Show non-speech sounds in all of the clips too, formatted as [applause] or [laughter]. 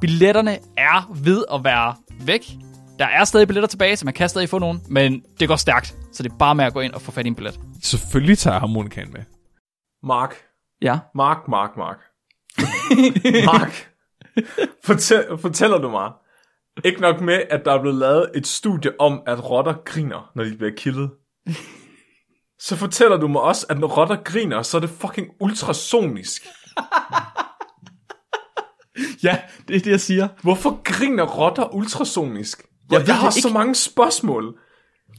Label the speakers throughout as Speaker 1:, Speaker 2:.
Speaker 1: Billetterne er ved at være væk. Der er stadig billetter tilbage, så man kan stadig få nogen, men det går stærkt. Så det er bare med at gå ind og få fat i en billet.
Speaker 2: Selvfølgelig tager jeg harmonikan med.
Speaker 3: Mark,
Speaker 1: Ja.
Speaker 3: Mark, Mark, Mark. [laughs] Mark, fortæl, fortæller du mig, ikke nok med, at der er blevet lavet et studie om, at rotter griner, når de bliver killet. Så fortæller du mig også, at når rotter griner, så er det fucking ultrasonisk.
Speaker 1: Ja, det er det, jeg siger.
Speaker 3: Hvorfor griner rotter ultrasonisk? Jeg,
Speaker 1: ved
Speaker 3: jeg har
Speaker 1: det
Speaker 3: så
Speaker 1: ikke. mange
Speaker 3: spørgsmål.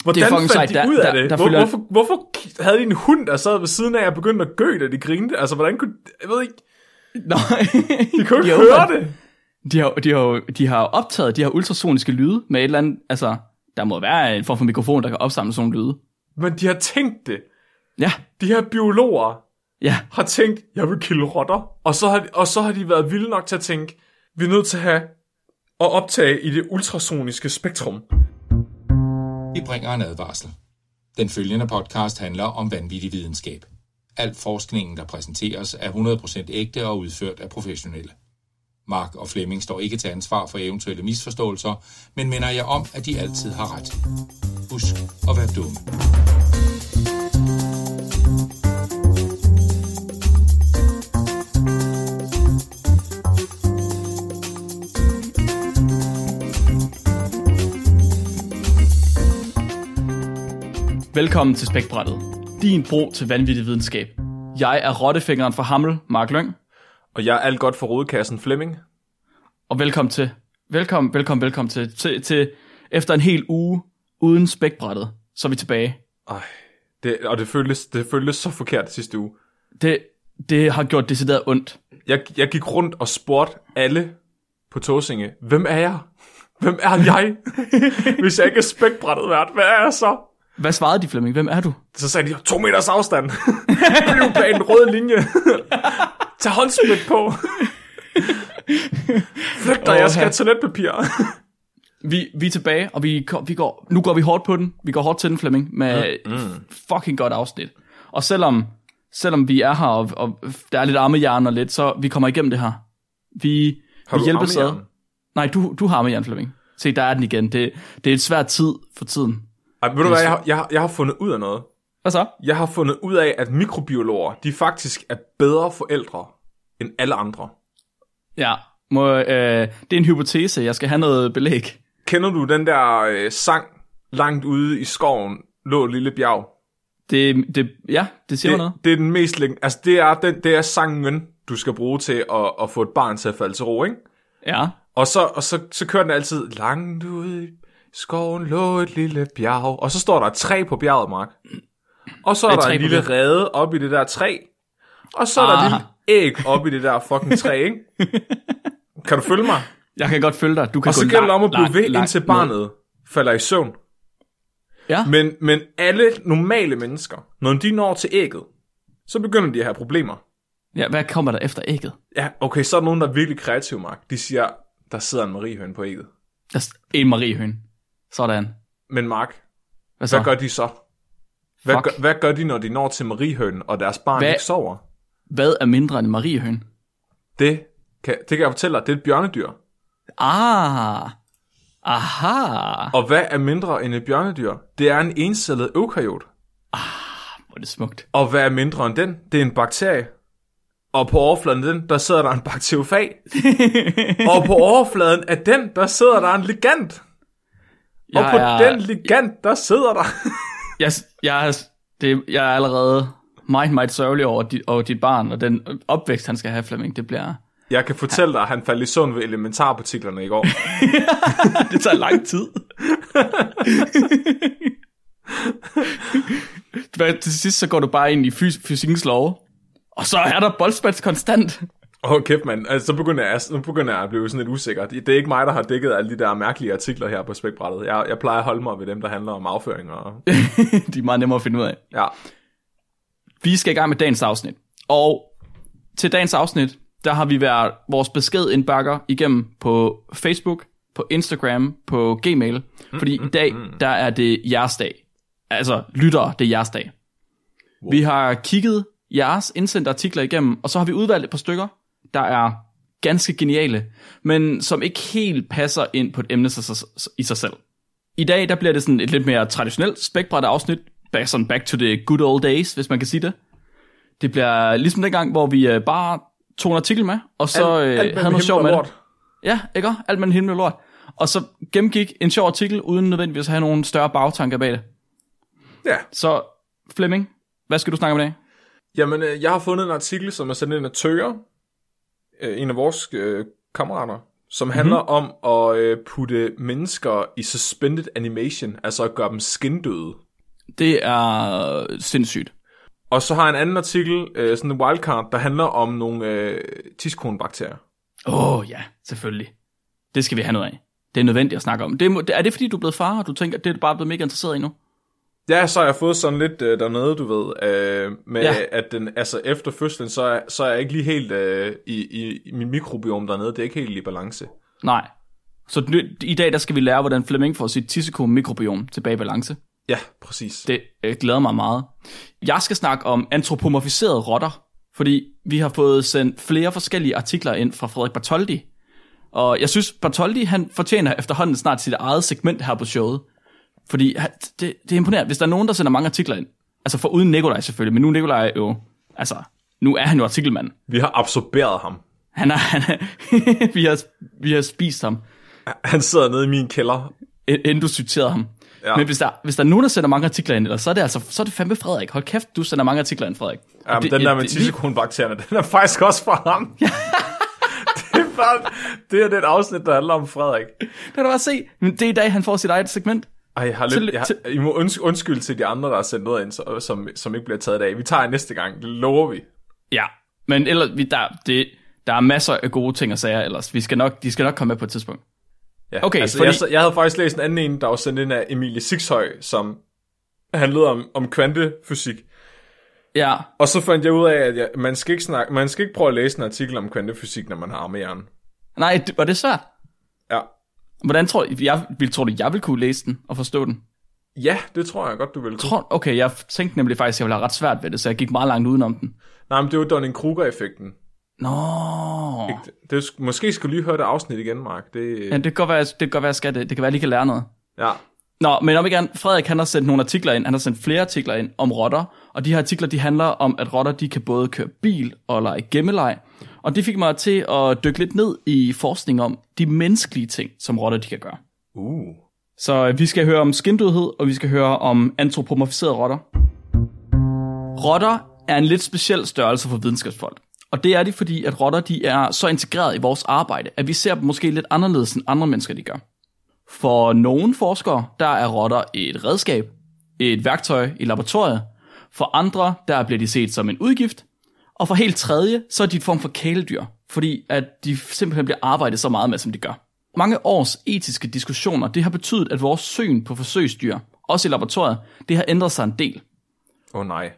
Speaker 3: Hvordan
Speaker 1: fucking
Speaker 3: fandt
Speaker 1: sejt.
Speaker 3: de
Speaker 1: Der-
Speaker 3: ud af
Speaker 1: der-
Speaker 3: det?
Speaker 1: der
Speaker 3: Hvor,
Speaker 1: følger-
Speaker 3: hvorfor, hvorfor k- havde de en hund, der sad ved siden af og begyndte at gø, da de grinede? Altså, hvordan kunne... Jeg ved ikke...
Speaker 4: Nå,
Speaker 1: [laughs]
Speaker 3: De kunne ikke
Speaker 4: Jo,
Speaker 3: høre
Speaker 4: men-
Speaker 3: det.
Speaker 4: de har, de, har, jo- de har jo optaget de her ultrasoniske lyde med et eller andet, altså, der må være en form for mikrofon, der kan opsamle sådan nogle lyde.
Speaker 3: Men de har tænkt det.
Speaker 4: Ja,
Speaker 3: De her biologer
Speaker 4: ja,
Speaker 3: har tænkt, jeg vil kilde rotter. Og så har, og så har de været vilde nok til at tænke, vi er nødt til at have at optage i det ultrasoniske spektrum.
Speaker 5: Vi bringer en advarsel. Den følgende podcast handler om vanvittig videnskab. Al forskningen, der præsenteres, er 100% ægte og udført af professionelle. Mark og Flemming står ikke til ansvar for eventuelle misforståelser, men minder jer om, at de altid har ret. Husk at være dumme.
Speaker 4: velkommen til Spækbrættet. Din bro til vanvittig videnskab. Jeg er rottefingeren fra Hammel, Mark Lyng,
Speaker 3: Og jeg er alt godt for rodekassen Flemming.
Speaker 4: og velkommen til, velkommen, velkommen, velkommen til, til, til efter en hel uge uden Spækbrættet, så er vi tilbage.
Speaker 3: Ej, det, og det føltes, det føltes så forkert sidste uge.
Speaker 4: Det, det har gjort decideret ondt.
Speaker 3: Jeg, jeg gik rundt og spurgte alle på Tåsinge, hvem er jeg? Hvem er [laughs] jeg? Hvis jeg ikke er spækbrættet vært, hvad er jeg så?
Speaker 4: Hvad svarede de, Flemming? Hvem er du?
Speaker 3: Så sagde de, to meters afstand. [laughs] Bliv bag en rød linje. Tag håndsprit på. Flygt dig, jeg skal have toiletpapir.
Speaker 4: Vi, vi er tilbage, og vi, kom- vi går, nu går vi hårdt på den. Vi går hårdt til den, Flemming, med mm, fucking godt afsnit. Og selvom, selvom vi er her, og, og der er lidt armejern og lidt, så vi kommer igennem det her. Vi, vi
Speaker 3: du
Speaker 4: hjælpes ad.
Speaker 3: armejern?
Speaker 4: Nej, du, du har armejern, Flemming. Se, der er den igen. Det, det er et svært tid for tiden.
Speaker 3: Ej, ved du hvad, jeg har, jeg, har- jeg har fundet ud af noget.
Speaker 4: Hvad så?
Speaker 3: Jeg har fundet ud af, at mikrobiologer, de faktisk er bedre forældre end alle andre.
Speaker 4: Ja, må, øh, det er en hypotese. Jeg skal have noget belæg.
Speaker 3: Kender du den der øh, sang, langt ude i skoven, lå et lille bjerg?
Speaker 4: Det, det, ja, det siger det... noget.
Speaker 3: Det, det er den mest læng... Altså, det er, den, det er sangen, du skal bruge til at, at få et barn til at falde til ro, ikke?
Speaker 4: Ja.
Speaker 3: Og så, og så, så kører den altid langt ud i skoven lå et lille bjerg. Og så står der et træ på bjerget, Mark. Og så er
Speaker 4: Et
Speaker 3: der
Speaker 4: træ
Speaker 3: en
Speaker 4: på
Speaker 3: lille
Speaker 4: bjerget.
Speaker 3: rede op i det der træ. Og så er der et
Speaker 4: Ah.
Speaker 3: lille æg op i det der fucking træ, ikke? Kan du følge mig?
Speaker 4: Jeg kan godt følge dig. Du kan
Speaker 3: Og så
Speaker 4: gå
Speaker 3: gælder det
Speaker 4: lang-
Speaker 3: om at blive
Speaker 4: lang-
Speaker 3: ved,
Speaker 4: lang-
Speaker 3: indtil barnet falder i søvn.
Speaker 4: Ja.
Speaker 3: Men, men alle normale mennesker, når de når til ægget, så begynder de at have problemer.
Speaker 4: Ja, hvad kommer der efter ægget?
Speaker 3: Ja, okay, så er der nogen, der er virkelig kreative, Mark. De siger, der sidder en mariehøn på ægget.
Speaker 4: Der er Altså, en mariehøn. Sådan.
Speaker 3: Men Mark,
Speaker 4: Hvad så?
Speaker 3: hvad gør de så? Hvad
Speaker 4: Fuck.
Speaker 3: gør, hvad gør de, når de når til mariehønen, og deres barn
Speaker 4: Hvad?
Speaker 3: ikke sover?
Speaker 4: Hvad er mindre end en mariehøn?
Speaker 3: Det kan, det kan jeg fortælle dig, det er et bjørnedyr.
Speaker 4: Ah. Aha.
Speaker 3: Og hvad er mindre end et bjørnedyr? Det er en encellet eukaryot.
Speaker 4: Hvor er det smukt.
Speaker 3: Og hvad er mindre end den? Det er en bakterie. Og på overfladen af den, der sidder der en
Speaker 4: [laughs]
Speaker 3: bakteriofag. og på overfladen af den, der sidder der en ligand. Og
Speaker 4: Jeg
Speaker 3: på
Speaker 4: er-
Speaker 3: den ligand, der sidder der...
Speaker 4: Jeg, jeg, er- det, jeg er allerede meget, meget sørgelig over, dit, over dit barn, og den opvækst, han skal have, Flemming, det bliver...
Speaker 3: Jeg kan fortælle dig, at han faldt i søvn ved elementarpartiklerne i går.
Speaker 4: Det tager lang [laughs] tid. Hvad, til sidst så går du bare ind i fys- fysikkens lov, og så er der boldspats konstant. [laughs]
Speaker 3: Åh, oh, kæft mand, altså, så begynder, jeg, så begynder jeg at blive sådan lidt usikker. Det det er ikke mig, der har dækket alle de der mærkelige artikler her på spækbrættet. Jeg, jeg plejer at holde mig ved dem, der handler om afføring. Og...
Speaker 4: De er meget nemmere at finde ud af.
Speaker 3: Ja.
Speaker 4: Vi skal i gang med dagens afsnit. Og til dagens afsnit, der har vi været vores beskedindbakker igennem på Facebook, på Instagram, på Gmail. Fordi i dag, der er det jeres dag. Altså, lyttere, det er jeres dag. Wow. Vi har kigget jeres indsendte artikler igennem, og så har vi udvalgt et par stykker, der er ganske geniale, men som ikke helt passer ind på et emne sig- sig- i sig selv. I dag, der bliver det sådan et lidt mere traditionelt spækbræt afsnit, back, sådan back to the good old days, hvis man kan sige det. Det bliver ligesom dengang, hvor vi øh, bare tog en artikel med, og så alt, alt, havde noget sjov med det. Ja, ikke? også? Alt mellem himmel og lort. Og så gennemgik en sjov artikel, uden nødvendigvis at have nogle større bagtanker bag det.
Speaker 3: Ja.
Speaker 4: Så Flemming, hvad skal du snakke om i dag?
Speaker 3: Jamen, øh, jeg har fundet en artikel, som er sendt ind af Tøger, øh, en af vores øh, kammerater,
Speaker 4: Mhm.
Speaker 3: som handler mm-hmm. om at øh, putte mennesker i suspended animation, altså at gøre dem skindøde.
Speaker 4: Det er sindssygt.
Speaker 3: Og så har jeg en anden artikel, øh, sådan en wildcard, der handler om nogle øh, tiskonebakterier.
Speaker 4: Åh oh, ja, selvfølgelig. Det skal vi have noget af. Det er nødvendigt at snakke om. Det må, er det fordi, du er blevet far, og du tænker, det er du bare blevet mega interesseret i nu?
Speaker 3: Ja, så har jeg fået sådan lidt øh, dernede, du ved, øh, med ja.
Speaker 4: Ja.
Speaker 3: at den, altså efter fødslen, så er, så er jeg ikke lige helt øh, i, i, i min mikrobiom dernede, det er ikke helt i balance.
Speaker 4: Nej. Så nu- i dag der skal vi lære, hvordan Flemming får sit tissekom-mikrobiom tilbage i balance.
Speaker 3: Ja, præcis. Det.
Speaker 4: Det øh, glæder mig meget. Jeg skal snakke om antropomorfiserede rotter, fordi vi har fået sendt flere forskellige artikler ind fra Frederik Bartoldi. Og jeg synes, Bartoldi han fortjener efterhånden snart sit eget segment her på showet. Fordi han- det, det er imponerende, hvis der er nogen, der sender mange artikler ind. Altså for uden Nikolaj selvfølgelig, men nu er Nikolaj jo... Altså, nu er han jo artikelmand.
Speaker 3: Vi har absorberet ham.
Speaker 4: Han er, han er, [laughs] vi, har, vi har spist ham.
Speaker 3: Han sidder nede i min kælder.
Speaker 4: ind- inden du citerede ham.
Speaker 3: Ja.
Speaker 4: Ja. Men hvis der, hvis der er nogen, der sender mange artikler ind, eller, så, er det altså, så er det fandme Frederik. Hold kæft, du sender mange artikler ind, Frederik. Og
Speaker 3: Ja, men
Speaker 4: det-
Speaker 3: den der med
Speaker 4: det-
Speaker 3: tissekonebakterierne, den er faktisk også fra ham. det er bare, det er det afsnit, der handler om Frederik.
Speaker 4: Det kan du bare se. Men det er i dag, han får sit eget segment.
Speaker 3: Ej, jeg har lidt,
Speaker 4: Til-
Speaker 3: jeg, har- I må unds- undskylde til de andre, der har sendt noget ind, så- som, som ikke bliver taget i dag. Vi tager næste gang, det lover vi.
Speaker 4: Ja, men ellers, vi, der, det, der er masser af gode ting at sige ellers. Vi skal nok, de skal nok komme med på et tidspunkt.
Speaker 3: Ja,
Speaker 4: Okay,
Speaker 3: altså,
Speaker 4: fordi-
Speaker 3: jeg, så- jeg havde faktisk læst en anden en, der var sendt ind af Emilie Sixhøj, som handlede om, om kvantefysik.
Speaker 4: Ja,
Speaker 3: Og så fandt jeg ud af, at jeg, man, skal ikke snakke, man skal ikke prøve at læse en artikel om kvantefysik, når man har armehjernen.
Speaker 4: nej, det, var det svært?
Speaker 3: Ja.
Speaker 4: Hvordan tror jeg, jeg, vil, tror du, jeg vil kunne læse den og forstå den?
Speaker 3: ja, det tror jeg godt, du vil. kunne.
Speaker 4: Tror, okay, jeg tænkte nemlig faktisk, at jeg ville have ret svært ved det, så jeg gik meget langt udenom den.
Speaker 3: Nej, men det var Dunning-Kruger-effekten.
Speaker 4: Nå.
Speaker 3: Det er, sk- måske skulle lige høre det afsnit igen, Mark. Det,
Speaker 4: Ja,
Speaker 3: ja.
Speaker 4: det kan godt være, jeg- det kan godt være, jeg skal det. Det kan være, at jeg lige kan lære noget.
Speaker 3: ja.
Speaker 4: Nå, men om igen, Frederik han har sendt nogle artikler ind, han har sendt flere artikler ind om rotter, og de her artikler de handler om, at rotter de kan både køre bil og lege gemmeleg. Og det fik mig til at dykke lidt ned i forskning om de menneskelige ting, som rotter de kan gøre.
Speaker 3: Uh.
Speaker 4: Så øh, vi skal høre om skindødhed, og vi skal høre om antropomorfiserede rotter. Rotter er en lidt speciel størrelse for videnskabsfolk. Og det er de, fordi at rotter de er så integreret i vores arbejde, at vi ser dem måske lidt anderledes end andre mennesker, de gør. For nogle forskere, der er rotter et redskab, et værktøj i laboratoriet. For andre, der bliver de set som en udgift. Og for helt tredje, så er de en form for kæledyr, fordi at de simpelthen bliver arbejdet så meget med, som de gør. Mange års etiske diskussioner, det har betydet, at vores syn på forsøgsdyr, også i laboratoriet, det har ændret sig en del.
Speaker 3: Åh oh, nej.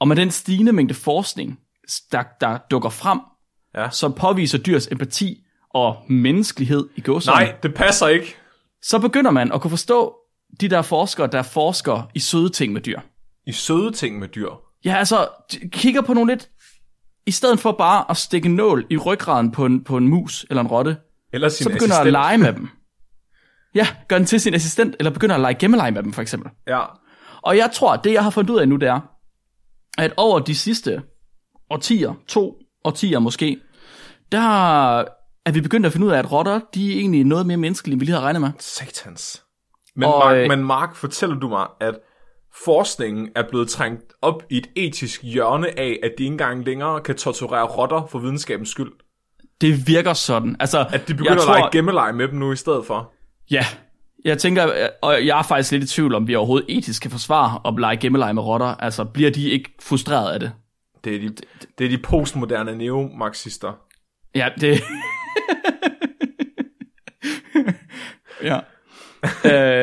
Speaker 4: Og med den stigende mængde forskning, der, der dukker frem,
Speaker 3: Ja.
Speaker 4: så påviser dyrs empati og menneskelighed i gåsøjne
Speaker 3: Nej, det passer ikke.
Speaker 4: så begynder man at kunne forstå de der forskere, der forsker i søde ting med dyr.
Speaker 3: I søde ting med dyr.
Speaker 4: Ja, altså, de kigger på nogle lidt... I stedet for bare at stikke en nål i ryggraden på en, på en mus eller en rotte,
Speaker 3: Eller sin
Speaker 4: så begynder
Speaker 3: assistent.
Speaker 4: at lege med dem. Ja, gør den til sin assistent, eller begynder at lege gemmeleje med dem, for eksempel.
Speaker 3: Ja.
Speaker 4: Og jeg tror, at det jeg har fundet ud af nu, det er, at over de sidste årtier, to årtier måske, der er vi begyndt at finde ud af, at rotter, de er egentlig noget mere menneskelige, end vi lige havde regnet med.
Speaker 3: Satans. Men, og,
Speaker 4: Og,
Speaker 3: Mark,
Speaker 4: øh,
Speaker 3: men Mark, fortæller du mig, at forskningen er blevet trængt op i et etisk hjørne af, at de ikke engang længere kan torturere rotter for videnskabens skyld?
Speaker 4: Det virker sådan. Altså,
Speaker 3: At de begynder
Speaker 4: jeg
Speaker 3: tror... at lege gemmeleje med dem nu i stedet for?
Speaker 4: Ja, jeg tænker, og jeg er faktisk lidt i tvivl om, vi overhovedet etisk kan forsvare at lege gemmeleje med rotter. Altså, bliver de ikke frustreret af det?
Speaker 3: Det er de, det er de postmoderne neomarxister.
Speaker 4: Ja, det... [laughs] ja.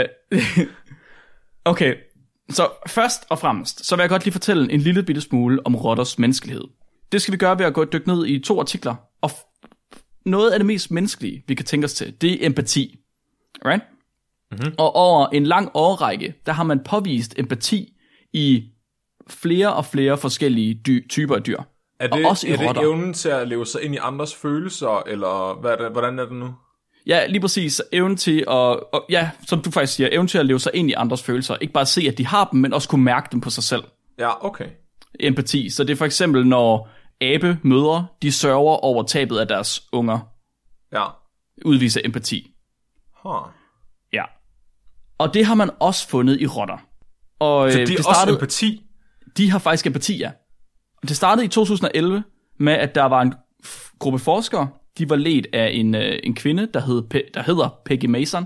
Speaker 4: Øh, [laughs] okay, så først og fremmest, så vil jeg godt lige fortælle en lille bitte smule om rotters menneskelighed. Det skal vi gøre ved at gå dykke ned i to artikler, og f- noget af det mest menneskelige, vi kan tænke os til, det er empati. Right? Mm-hmm. Og over en lang årrække, der har man påvist empati i flere og flere forskellige dy- typer af dyr.
Speaker 3: Er det,
Speaker 4: og også i
Speaker 3: er det
Speaker 4: rotter.
Speaker 3: evnen til at leve sig ind i andres følelser, eller hvad er det, hvordan er det nu?
Speaker 4: Ja, lige præcis. Evnen til at, og, ja, som du faktisk siger, evnen til at leve sig ind i andres følelser. Ikke bare se, at de har dem, men også kunne mærke dem på sig selv.
Speaker 3: Ja, okay.
Speaker 4: Empati. Så det er for eksempel, når abe mødre, de sørger over tabet af deres unger,
Speaker 3: Ja.
Speaker 4: udviser empati.
Speaker 3: Huh.
Speaker 4: Ja. Og det har man også fundet i rotter. Og
Speaker 3: Så
Speaker 4: øh,
Speaker 3: det er
Speaker 4: det
Speaker 3: også
Speaker 4: startede,
Speaker 3: empati.
Speaker 4: de har faktisk empati, ja. Og Det startede i 2011 med, at der var en f- gruppe forskere, de var ledt af en, øh, en kvinde, der, hed, Pe- der hedder Peggy Mason,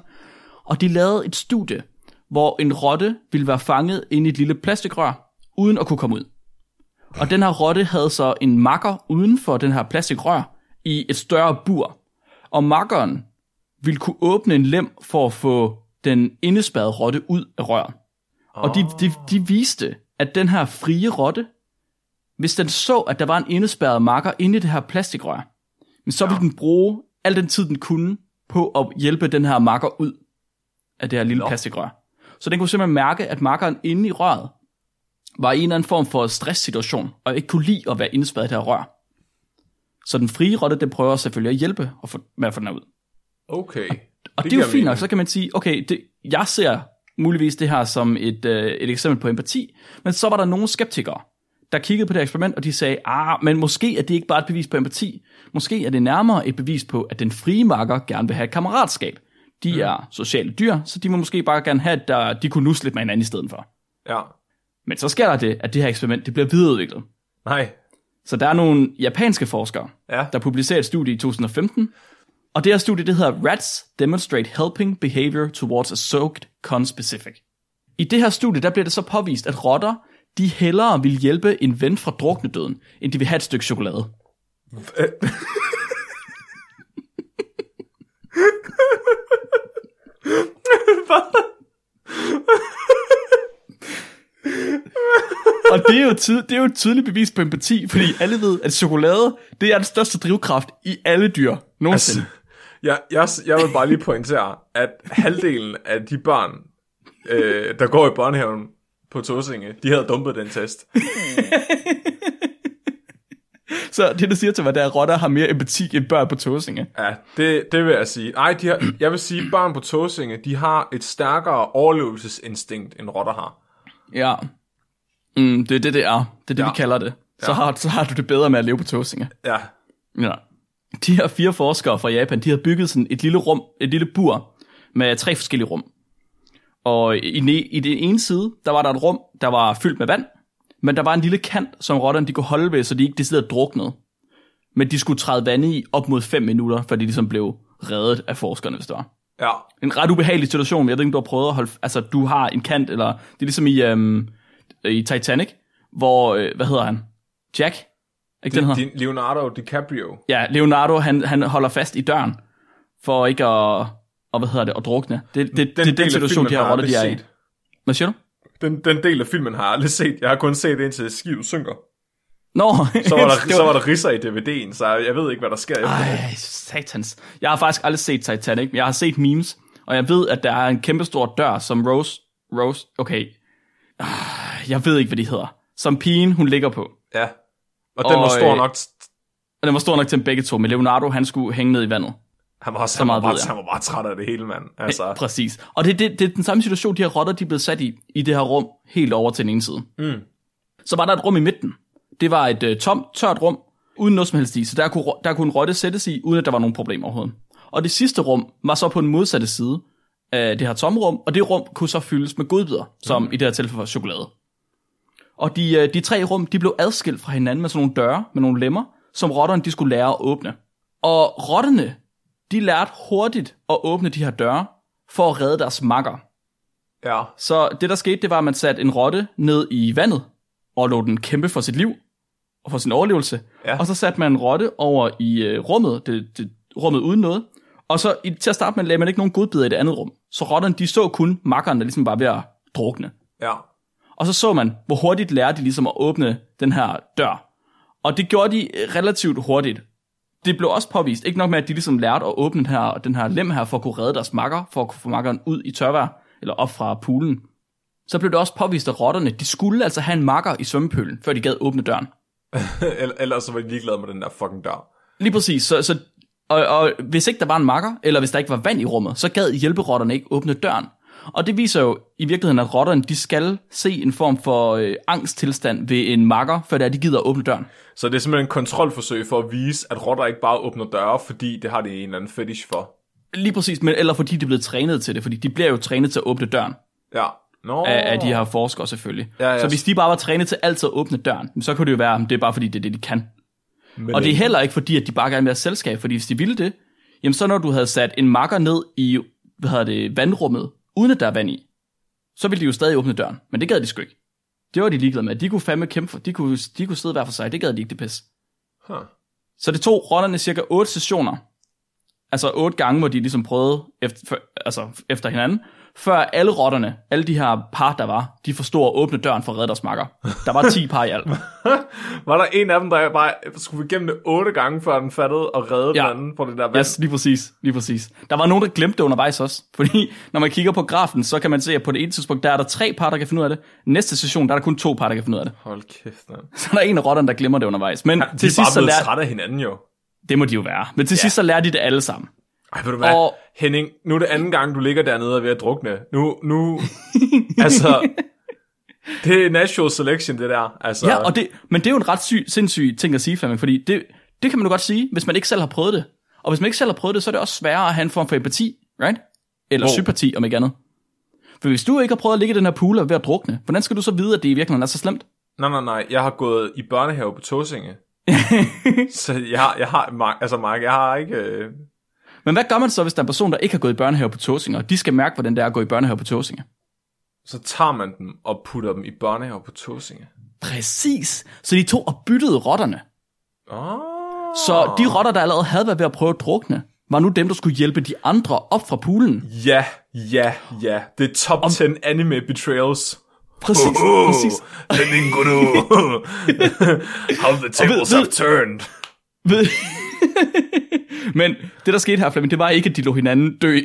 Speaker 4: og de lavede et studie, hvor en rotte ville være fanget inde i et lille plastikrør, uden at kunne komme ud. Og den her rotte havde så en makker uden for den her plastikrør i et større bur. Og makkeren ville kunne åbne en lem for at få den indespærrede rotte ud af røret. Og de, de, de viste, at den her frie rotte, hvis den så, at der var en indespærret marker inde i det her plastikrør, men så ville den bruge al den tid, den kunne, på at hjælpe den her marker ud af det her lille plastikrør. Så den kunne simpelthen mærke, at markeren inde i røret var i en eller anden form for stresssituation, og ikke kunne lide at være indespærret i det her rør. Så den frie rotte, den prøver selvfølgelig at hjælpe og få, med at få den her ud.
Speaker 3: Okay.
Speaker 4: Og det, det er jo
Speaker 3: giver
Speaker 4: fint nok,
Speaker 3: mening.
Speaker 4: så kan man sige, okay, det, jeg ser muligvis det her som et, øh, et eksempel på empati, men så var der nogle skeptikere, der kiggede på det her eksperiment, og de sagde, ah, men måske er det ikke bare et bevis på empati, måske er det nærmere et bevis på, at den frie makker gerne vil have et kammeratskab. De mm. er sociale dyr, så de må måske bare gerne have, at der, de kunne nusse lidt med hinanden i stedet for.
Speaker 3: Ja.
Speaker 4: Men så sker der det, at det her eksperiment det bliver videreudviklet.
Speaker 3: Nej.
Speaker 4: Så der er nogle japanske forskere,
Speaker 3: Ja.
Speaker 4: der publicerer et studie i 2015, og det her studie det hedder Rats Demonstrate Helping Behavior Towards a Soaked Conspecific. I det her studie der bliver det så påvist, at rotter de hellere vil hjælpe en ven fra druknedøden, end de vil have et stykke chokolade. [laughs] Og det er, jo tyd- det er jo et tydeligt bevis på empati, fordi alle ved, at chokolade det er den største drivkraft i alle dyr nogensinde. Altså,
Speaker 3: Jeg, jeg, jeg vil bare lige pointere, at halvdelen af de børn, øh, der går i børnehaven på Torsinge, de havde dumpet den test.
Speaker 4: så det, der siger til mig, det er, at rotter har mere empati end børn på tåsinge.
Speaker 3: Ja, det, det vil jeg sige. Nej, de har, jeg vil sige, at børn på Torsinge, de har et stærkere overlevelsesinstinkt, end rotter har.
Speaker 4: Ja. Mm, det er det, det er. Det er det, ja. vi kalder det. Så, har, så har du det bedre med at leve på tåsinger.
Speaker 3: Ja,
Speaker 4: Ja. De her fire forskere fra Japan, de har bygget sådan et lille rum, et lille bur med tre forskellige rum. Og i, den e- i den ene side, der var der et rum, der var fyldt med vand, men der var en lille kant, som rotterne de kunne holde ved, så de ikke decideret druknede. Men de skulle træde vand i op mod 5 minutter, for de ligesom blev reddet af forskerne, hvis det var.
Speaker 3: ja,
Speaker 4: En ret ubehagelig situation, jeg ved ikke, om du har prøvet at holde... Altså, du har en kant, eller... Det er ligesom i, øhm, i Titanic, hvor... Øh, hvad hedder han? Jack? Ikke den hedder?
Speaker 3: Din Leonardo DiCaprio.
Speaker 4: Ja, Leonardo, han, han holder fast i døren, for ikke at, og hvad hedder det, at drukne. Det, det, det, det er
Speaker 3: del af
Speaker 4: den situation,
Speaker 3: filmen
Speaker 4: de her
Speaker 3: har jeg
Speaker 4: rotter, de er
Speaker 3: aldrig
Speaker 4: i.
Speaker 3: set.
Speaker 4: Hvad siger du?
Speaker 3: Den, den del af filmen har jeg aldrig set. Jeg har kun set indtil skivet synker.
Speaker 4: [laughs] Nå,
Speaker 3: [laughs] Så var, der,
Speaker 4: det
Speaker 3: så var der risser i DVD'en, så jeg ved ikke, hvad der sker efter det.
Speaker 4: [laughs] Ej, satans. Jeg har faktisk aldrig set Titanic, men jeg har set memes, og jeg ved, at der er en kæmpestor dør, som Rose... Rose... Okay. Ah, Jeg ved ikke, hvad de hedder. Som pigen, hun ligger på.
Speaker 3: Ja. Og den var
Speaker 4: Og,
Speaker 3: stor
Speaker 4: øh,
Speaker 3: nok.
Speaker 4: Og den var stor nok til dem begge to, men Leonardo, han skulle hænge ned i vandet.
Speaker 3: Han var, også,
Speaker 4: så
Speaker 3: han, var
Speaker 4: meget
Speaker 3: bare,
Speaker 4: ved jeg.
Speaker 3: han var bare træt af det hele, mand.
Speaker 4: Altså.
Speaker 3: Altså,
Speaker 4: [laughs] Præcis. Og det, det, det er den samme situation, de her rotter, de er blevet sat i, i det her rum, helt over til den ene side. Mm. Så var der et rum i midten. Det var et øh, tomt, tørt rum, uden noget som helst i, så der kunne, ro- der kunne en rotte sættes i, uden at der var nogen problemer overhovedet. Og det sidste rum var så på den modsatte side af det her tomme rum, og det rum kunne så fyldes med godbidder, som mm. i det her tilfælde var chokolade. Og de, øh, de tre rum, de blev adskilt fra hinanden med sådan nogle døre, med nogle lemmer, som rotterne de skulle lære at åbne. Og rotterne, de lærte hurtigt at åbne de her døre, for at redde deres makker.
Speaker 3: ja.
Speaker 4: Så det, der skete, det var, at man satte en rotte ned i vandet, og lå den kæmpe for sit liv, og for sin overlevelse.
Speaker 3: Ja.
Speaker 4: Ja. Og så satte man en rotte over i øh, rummet, det, det, rummet uden noget. Og så i, til at starte med lagde man ikke nogen godbidder i det andet rum. Så rotterne, de så kun makkerne, der ligesom var ved at drukne.
Speaker 3: Ja. [laughs]
Speaker 4: Og så så man, hvor hurtigt lærer de ligesom at åbne den her dør. Og det gjorde de øh, relativt hurtigt. Det blev også påvist. Ikke nok med, at de ligesom lærte at åbne den her, den her lem her, for at kunne redde deres makker, for at kunne få makkeren ud i tørvær, eller op fra poolen. Så blev det også påvist, at rotterne, de skulle altså have en makker i svømmepølen, før de gad åbne døren.
Speaker 3: Eller- Ellers så var de ligeglade med den der fucking dør.
Speaker 4: Lige præcis. Så, så, og, og hvis ikke der var en makker, eller hvis der ikke var vand i rummet, så gad hjælperotterne ikke åbne døren. Og det viser jo i virkeligheden, at rotterne de skal se en form for øh, angsttilstand ved en makker, før det er, de gider at åbne døren.
Speaker 3: Så det er simpelthen en kontrolforsøg for at vise, at rotter ikke bare åbner døre, fordi det har de en eller anden fetish for.
Speaker 4: Lige præcis, men eller fordi de er blevet trænet til det, fordi de bliver jo trænet til at åbne døren
Speaker 3: Ja. Nå.
Speaker 4: af, af de her forskere selvfølgelig.
Speaker 3: Ja,
Speaker 4: Ja,
Speaker 3: ja.
Speaker 4: ja. Så hvis de bare var trænet til altid at åbne døren, så kunne det jo være, at det er bare fordi, det er det, de kan.
Speaker 3: Men,
Speaker 4: Og det er heller ikke fordi, at de bare gerne vil have selskab, fordi hvis de ville det, jamen så når du havde sat en makker ned i, hvad hedder det, vandrummet, uden at der er vand i, så ville de jo stadig åbne døren, men det gad de sgu ikke. Det var de ligeglade med. De kunne fandme kæmpe for, de kunne, de kunne sidde hver for sig, det gad de ikke, det pis.
Speaker 3: Huh.
Speaker 4: Så det tog rollerne cirka 8 sessioner, altså 8 gange, hvor de ligesom prøvede efter, for, altså efter hinanden, før alle rotterne, alle de her par, der var, de forstod at åbne døren for at redde deres makker. Der var 10 par i
Speaker 3: [laughs]
Speaker 4: alt.
Speaker 3: Var der en af dem, der bare skulle igennem det otte gange, før den fattede og redde ja.
Speaker 4: Ja.
Speaker 3: den anden på det der vand?
Speaker 4: Yes, lige præcis, lige præcis. Der var nogen, der glemte det undervejs også. Fordi når man kigger på grafen, så kan man se, at på det ene tidspunkt, der er der tre par, der kan finde ud af det. Næste session, der er der kun to par, der kan finde ud af det.
Speaker 3: Hold kæft, man.
Speaker 4: Så der er en af rotterne, der glemmer det undervejs. Men
Speaker 3: De
Speaker 4: til
Speaker 3: er bare
Speaker 4: sidst så
Speaker 3: blevet
Speaker 4: lærer...
Speaker 3: trætte af hinanden jo.
Speaker 4: Det må de jo være. Men til sidst så lærer de det alle sammen.
Speaker 3: Ej, ved du hvad, og...
Speaker 4: Og-
Speaker 3: Henning, nu er det anden gang, du ligger dernede og er ved at drukne. Nu,
Speaker 4: [laughs]
Speaker 3: nu, altså, det er natural selection, det der. Altså,
Speaker 4: Ja, og det, men det er jo en ret syg, sindssyg ting at sige, Flemming, fordi det, det kan man jo godt sige, hvis man ikke selv har prøvet det. Og hvis man ikke selv har prøvet det, så er det også sværere at have en form for empati, right? Eller
Speaker 3: Hvor?
Speaker 4: oh. sympati, om ikke andet. For hvis du ikke har prøvet at ligge i den her pool og ved at drukne, hvordan skal du så vide, at det i virkeligheden er så slemt?
Speaker 3: Nej, nej, nej, jeg har gået i børnehave på
Speaker 4: [laughs]
Speaker 3: Tåsinge. så jeg, har- jeg har, Mark, altså Mark, jeg har ikke... Øh...
Speaker 4: Men hvad gør man så, hvis der er en person, der ikke har gået i børnehave på Tåsinger, og de skal mærke, hvordan det er at gå i børnehave på Tåsinger?
Speaker 3: Så tager man dem og putter dem i børnehave på Tåsinge.
Speaker 4: Præcis. Så de to og byttede rotterne.
Speaker 3: Oh.
Speaker 4: Så de rotter, der allerede havde været ved at prøve at drukne, var nu dem, der skulle hjælpe de andre op fra poolen.
Speaker 3: Ja, ja, ja. Det er top 10 anime betrayals.
Speaker 4: Præcis, præcis. [laughs]
Speaker 3: Henning Guru. How the tables
Speaker 4: have
Speaker 3: turned.
Speaker 4: Ved- [laughs] Men det, der skete her, Flemming, det var ikke, at de lå hinanden dø.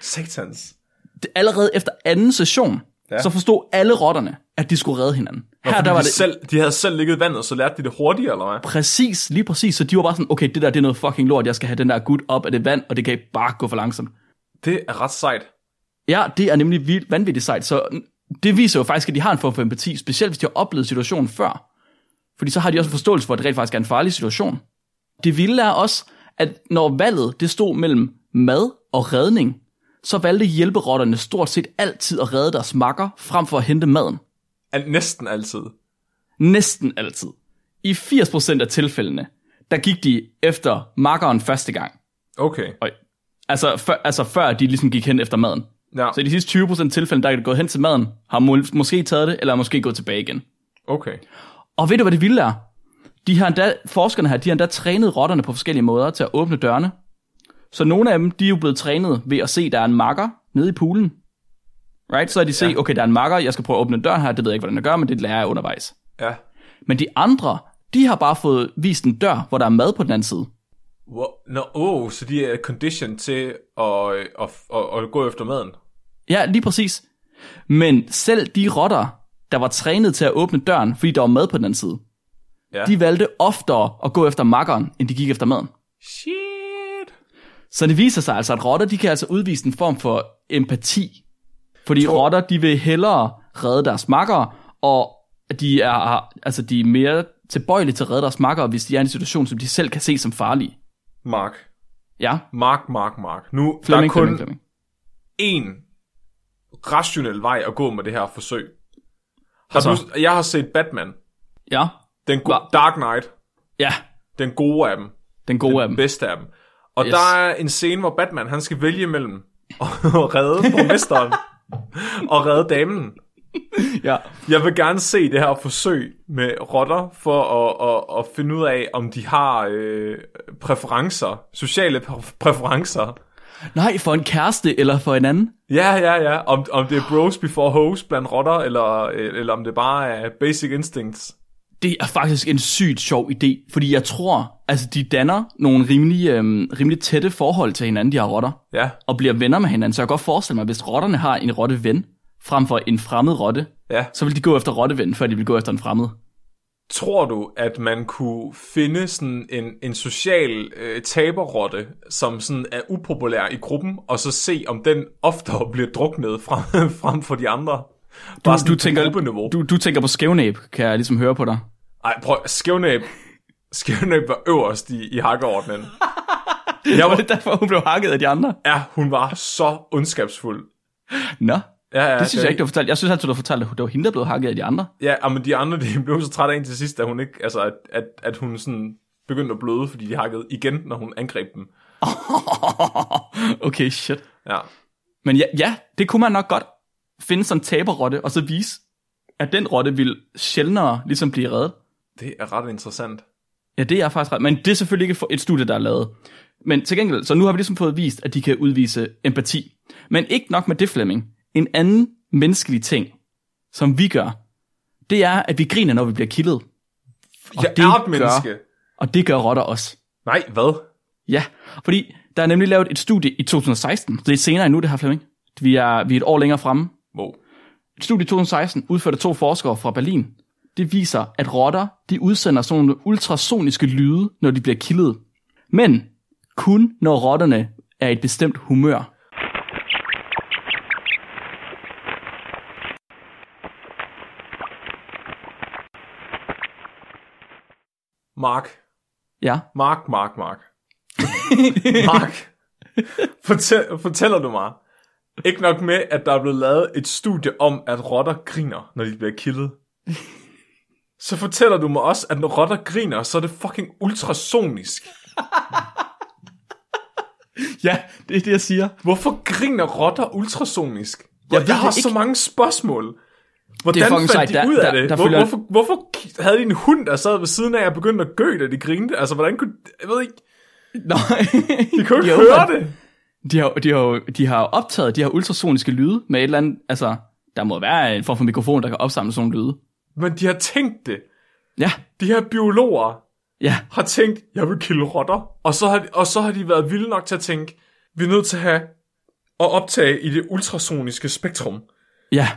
Speaker 3: Satans.
Speaker 4: Det, allerede efter anden session, ja. så forstod alle rotterne, at de skulle redde hinanden. Her,
Speaker 3: Der var de, det... selv, de havde selv ligget i vandet, så lærte de det hurtigere, eller hvad?
Speaker 4: Præcis, lige præcis. Så de var bare sådan, okay, det der det er noget fucking lort, jeg skal have den der gut op af det vand, og det kan bare gå for langsomt.
Speaker 3: Det er ret sejt.
Speaker 4: Ja, det er nemlig vildt vanvittigt sejt, så n- det viser jo faktisk, at de har en form for empati, specielt hvis de har oplevet situationen før. Fordi så har de også en forståelse for, at det rent faktisk er en farlig situation. Det vilde er også, at når valget det stod mellem mad og redning, så valgte hjælperotterne stort set altid at redde deres makker, frem for at hente maden.
Speaker 3: Al- næsten altid.
Speaker 4: Næsten altid. I 80% af tilfældene, der gik de efter makkeren første gang.
Speaker 3: Okay.
Speaker 4: Og, altså, før, altså før de ligesom gik hen efter maden.
Speaker 3: Ja,
Speaker 4: Så i de sidste 20% tilfælde, der er det gået hen til maden, har mål- måske taget det, eller måske gået tilbage igen.
Speaker 3: okay.
Speaker 4: Og ved du, hvad det vilde er? De har endda, forskerne her, de har endda trænet rotterne på forskellige måder til at åbne dørene. Så nogle af dem, de er jo blevet trænet ved at se, der er en makker nede i poolen. Right? Så har de set, okay, der er en makker, jeg skal prøve at åbne døren her, det ved jeg ikke, hvordan jeg gør, men det lærer jeg undervejs.
Speaker 3: Ja.
Speaker 4: Men de andre, de har bare fået vist en dør, hvor der er mad på den anden side.
Speaker 3: Wow. Nå, oh, så de er condition til at, øh, at, at, at gå efter maden.
Speaker 4: Ja, lige præcis. Men selv de rotter, der var trænet til at åbne døren, fordi der var mad på den anden side,
Speaker 3: Ja.
Speaker 4: ja. de valgte oftere at gå efter makkeren, end de gik efter maden.
Speaker 3: Shit.
Speaker 4: Så det viser sig altså, at rotter de kan altså udvise en form for empati. Fordi
Speaker 3: Tror-
Speaker 4: Tror... rotter de vil hellere redde deres makker, og de er, altså, de er mere tilbøjelige til at redde deres makker, hvis de er i en situation, som de selv kan se som farlige.
Speaker 3: Mark.
Speaker 4: Ja,
Speaker 3: Mark, Mark, Mark. Nu
Speaker 4: Flemming,
Speaker 3: der er kun
Speaker 4: Flemming, Flemming.
Speaker 3: en rationel vej at gå med det her forsøg. Har
Speaker 4: Altså?
Speaker 3: du, jeg har set Batman.
Speaker 4: Ja,
Speaker 3: Den gode,
Speaker 4: Hva?
Speaker 3: Dark Knight.
Speaker 4: ja,
Speaker 3: Den gode af dem.
Speaker 4: den gode af dem.
Speaker 3: Bedste af dem. Og yes.
Speaker 4: Yes.
Speaker 3: der er en scene, hvor Batman [laughs]
Speaker 4: [laughs]
Speaker 3: han skal vælge mellem at redde borgmesteren og redde damen.
Speaker 4: Ja.
Speaker 3: Jeg vil gerne se det her forsøg med rotter for at, at, at finde ud af, om de har øh, præferencer, sociale præ- præferencer.
Speaker 4: Nej, for en kæreste eller for en anden.
Speaker 3: Ja, ja, ja. Om, om det er bros before hoes blandt rotter, eller, eller om det bare er basic instincts.
Speaker 4: Det er faktisk en sygt sjov idé, fordi jeg tror, altså de danner nogle rimelig, øhm, rimelig tætte forhold til hinanden, de her rotter,
Speaker 3: Ja,
Speaker 4: og bliver venner med hinanden. Så jeg kan godt forestille mig, hvis rotterne har en rotteven, frem for en fremmed rotte,
Speaker 3: ja.
Speaker 4: så vil de gå efter rotteven, før de vil gå efter en fremmed.
Speaker 3: Tror du, at man kunne finde sådan en, en social øh, taberrotte, som sådan er upopulær i gruppen, og så se, om den oftere bliver druknet frem, [laughs] frem for de andre? Bare sådan
Speaker 4: du
Speaker 3: på
Speaker 4: tænker-
Speaker 3: gruppeniveau.
Speaker 4: Du, du tænker på skævnæb, kan jeg ligesom høre på dig.
Speaker 3: Ej, prøv, skævnæb. Skævnæb var øverst i, i hakkeordnen. Jeg
Speaker 4: Var
Speaker 3: var,
Speaker 4: det derfor, hun blev hakket af de andre?
Speaker 3: ja, hun var så ondskabsfuld.
Speaker 4: Nå,
Speaker 3: Ja, ja,
Speaker 4: det synes jeg ikke, du har fortalt. Jeg synes altid, du har fortalt, at det var hende, der blev hakket af de andre.
Speaker 3: Ja, men de andre, de [laughs] blev så trætte af hende til sidst, at hun, ikke, altså, at, at, at hun sådan begyndte at bløde, fordi de hakkede igen, når hun angreb dem.
Speaker 4: okay, shit.
Speaker 3: Ja.
Speaker 4: Men ja, ja, det kunne man nok godt finde sådan en taberrotte, og så vise, at den rotte vil sjældnere ligesom blive reddet.
Speaker 3: Det er ret interessant.
Speaker 4: Ja, det er faktisk ret. Men det er selvfølgelig ikke for- et studie, der er lavet. Men til gengæld, så nu har vi ligesom fået vist, at de kan udvise empati. Men ikke nok med det, Flemming. En anden menneskelig ting, som vi gør, det er, at vi griner, når vi bliver kildet. Og
Speaker 3: Jeg
Speaker 4: det
Speaker 3: er
Speaker 4: gør-
Speaker 3: et menneske.
Speaker 4: Og det gør rotter også.
Speaker 3: Nej, hvad?
Speaker 4: Ja, fordi der er nemlig lavet et studie i 2016. Det er senere endnu, det her, Flemming. Vi er, vi er et år længere fremme.
Speaker 3: Wow.
Speaker 4: Et studie i 2016, udført af to forskere fra Berlin, det viser, at rotter de udsender sådan nogle ultrasoniske lyde, når de bliver kildet. Men kun når rotterne er i et bestemt humør.
Speaker 3: Mark.
Speaker 4: Ja,
Speaker 3: Mark, Mark, Mark. [laughs] Mark. Fortæl, fortæller du mig? Ikke nok med, at der er blevet lavet et studie om, at rotter griner, når de bliver kildet. Så fortæller du mig også, at når rotter griner, så er det fucking ultrasonisk.
Speaker 4: ja det er det, jeg siger.
Speaker 3: Hvorfor griner rotter ultrasonisk? Jeg,
Speaker 4: ved
Speaker 3: jeg har
Speaker 4: det ikke.
Speaker 3: så mange spørgsmål. Hvordan
Speaker 4: fucking
Speaker 3: fandt
Speaker 4: sejt.
Speaker 3: de
Speaker 4: Der-
Speaker 3: ud af
Speaker 4: der-
Speaker 3: det?
Speaker 4: der
Speaker 3: Hvor,
Speaker 4: følger-
Speaker 3: hvorfor, hvorfor k- havde de en hund, der sad ved siden af og begyndte at gø, da de grinte? Altså, hvordan kunne... Jeg ved ikke.
Speaker 4: Nej.
Speaker 3: De kunne
Speaker 4: Jo,
Speaker 3: ikke høre
Speaker 4: men-
Speaker 3: det.
Speaker 4: [laughs] De har, de, har, jo- de har optaget de her ultrasoniske lyde med et eller andet, altså, der må være en form for mikrofon, der kan opsamle sådan nogle lyde.
Speaker 3: Men de har tænkt det.
Speaker 4: Ja,
Speaker 3: De her biologer
Speaker 4: ja,
Speaker 3: har tænkt, jeg vil kilde rotter. Og så har, og så har de været vilde nok til at tænke, vi er nødt til at have at optage i det ultrasoniske spektrum.
Speaker 4: ja.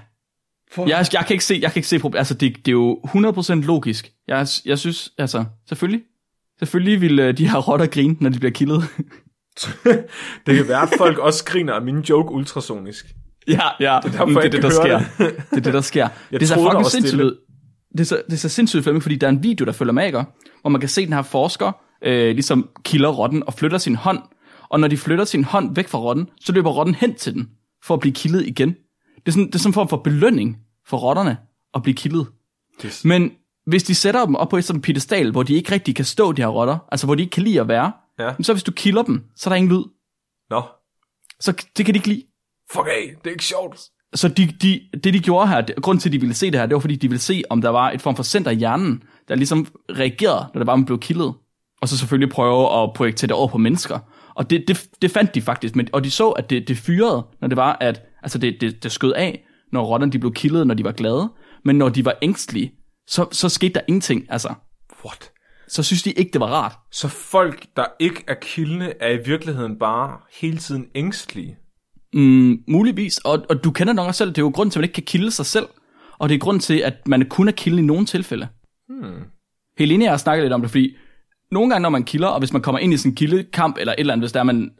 Speaker 4: Jeg, jeg kan ikke se, jeg kan ikke se problem. Altså, det, det er jo 100% logisk. Jeg, jeg synes, altså, selvfølgelig. Selvfølgelig vil øh, de her rotter grine, når de bliver kildet.
Speaker 3: det kan være, at [laughs] folk også griner af min joke ultrasonisk.
Speaker 4: [laughs] ja, ja. Det
Speaker 3: derfor, jeg
Speaker 4: det,
Speaker 3: ikke
Speaker 4: der
Speaker 3: kan
Speaker 4: sker.
Speaker 3: høre
Speaker 4: Det. [laughs] det er det, der sker. det er så
Speaker 3: troede, der
Speaker 4: fucking
Speaker 3: var
Speaker 4: sindssygt
Speaker 3: stille.
Speaker 4: ud. Det er, så, det er så sindssygt, Flemming, fordi der er en video, der følger med, ikke? hvor man kan se den her forsker øh, ligesom kilder rotten og flytter sin hånd. Og når de flytter sin hånd væk fra rotten, så løber rotten hen til den for at blive kildet igen. Det er sådan, det er sådan en form for belønning for rotterne at blive kildet.
Speaker 3: Yes.
Speaker 4: Men hvis de sætter dem op på et sådan pedestal, hvor de ikke rigtig kan stå, de her rotter, altså hvor de ikke kan lide at være,
Speaker 3: Ja.
Speaker 4: så hvis du kilder dem, så er der ingen lyd.
Speaker 3: Nå,
Speaker 4: Så det kan de ikke lide.
Speaker 3: fuck af, det er ikke sjovt.
Speaker 4: Så de, de, det de gjorde her, det- grunden til at de ville se det her, det var fordi de ville se, om der var et form for center i hjernen, der ligesom reagerede, når det var, man blev kildet. Og så selvfølgelig prøve at projektere det over på mennesker. Og det, det, det fandt de faktisk, men, og de så, at det, det fyrede, når det var, at altså det, det, det skød af, når rotterne de blev kildet, når de var glade. Men når de var ængstelige, så, så skete der ingenting, altså.
Speaker 3: What?
Speaker 4: Så synes de ikke, det var rart.
Speaker 3: Så folk, der ikke er kildende, er i virkeligheden bare hele tiden ængstlige.
Speaker 4: Mm, muligvis, og, og du kender nok også selv, det er jo grund til, at man ikke kan kilde sig selv, og det er grund til, at man kun er kilden i nogle tilfælde. Hmm. Helene og jeg har snakket lidt om det, fordi nogle gange, når man kilder, og hvis man kommer ind i sådan en kildekamp, eller et eller andet, hvis der er, man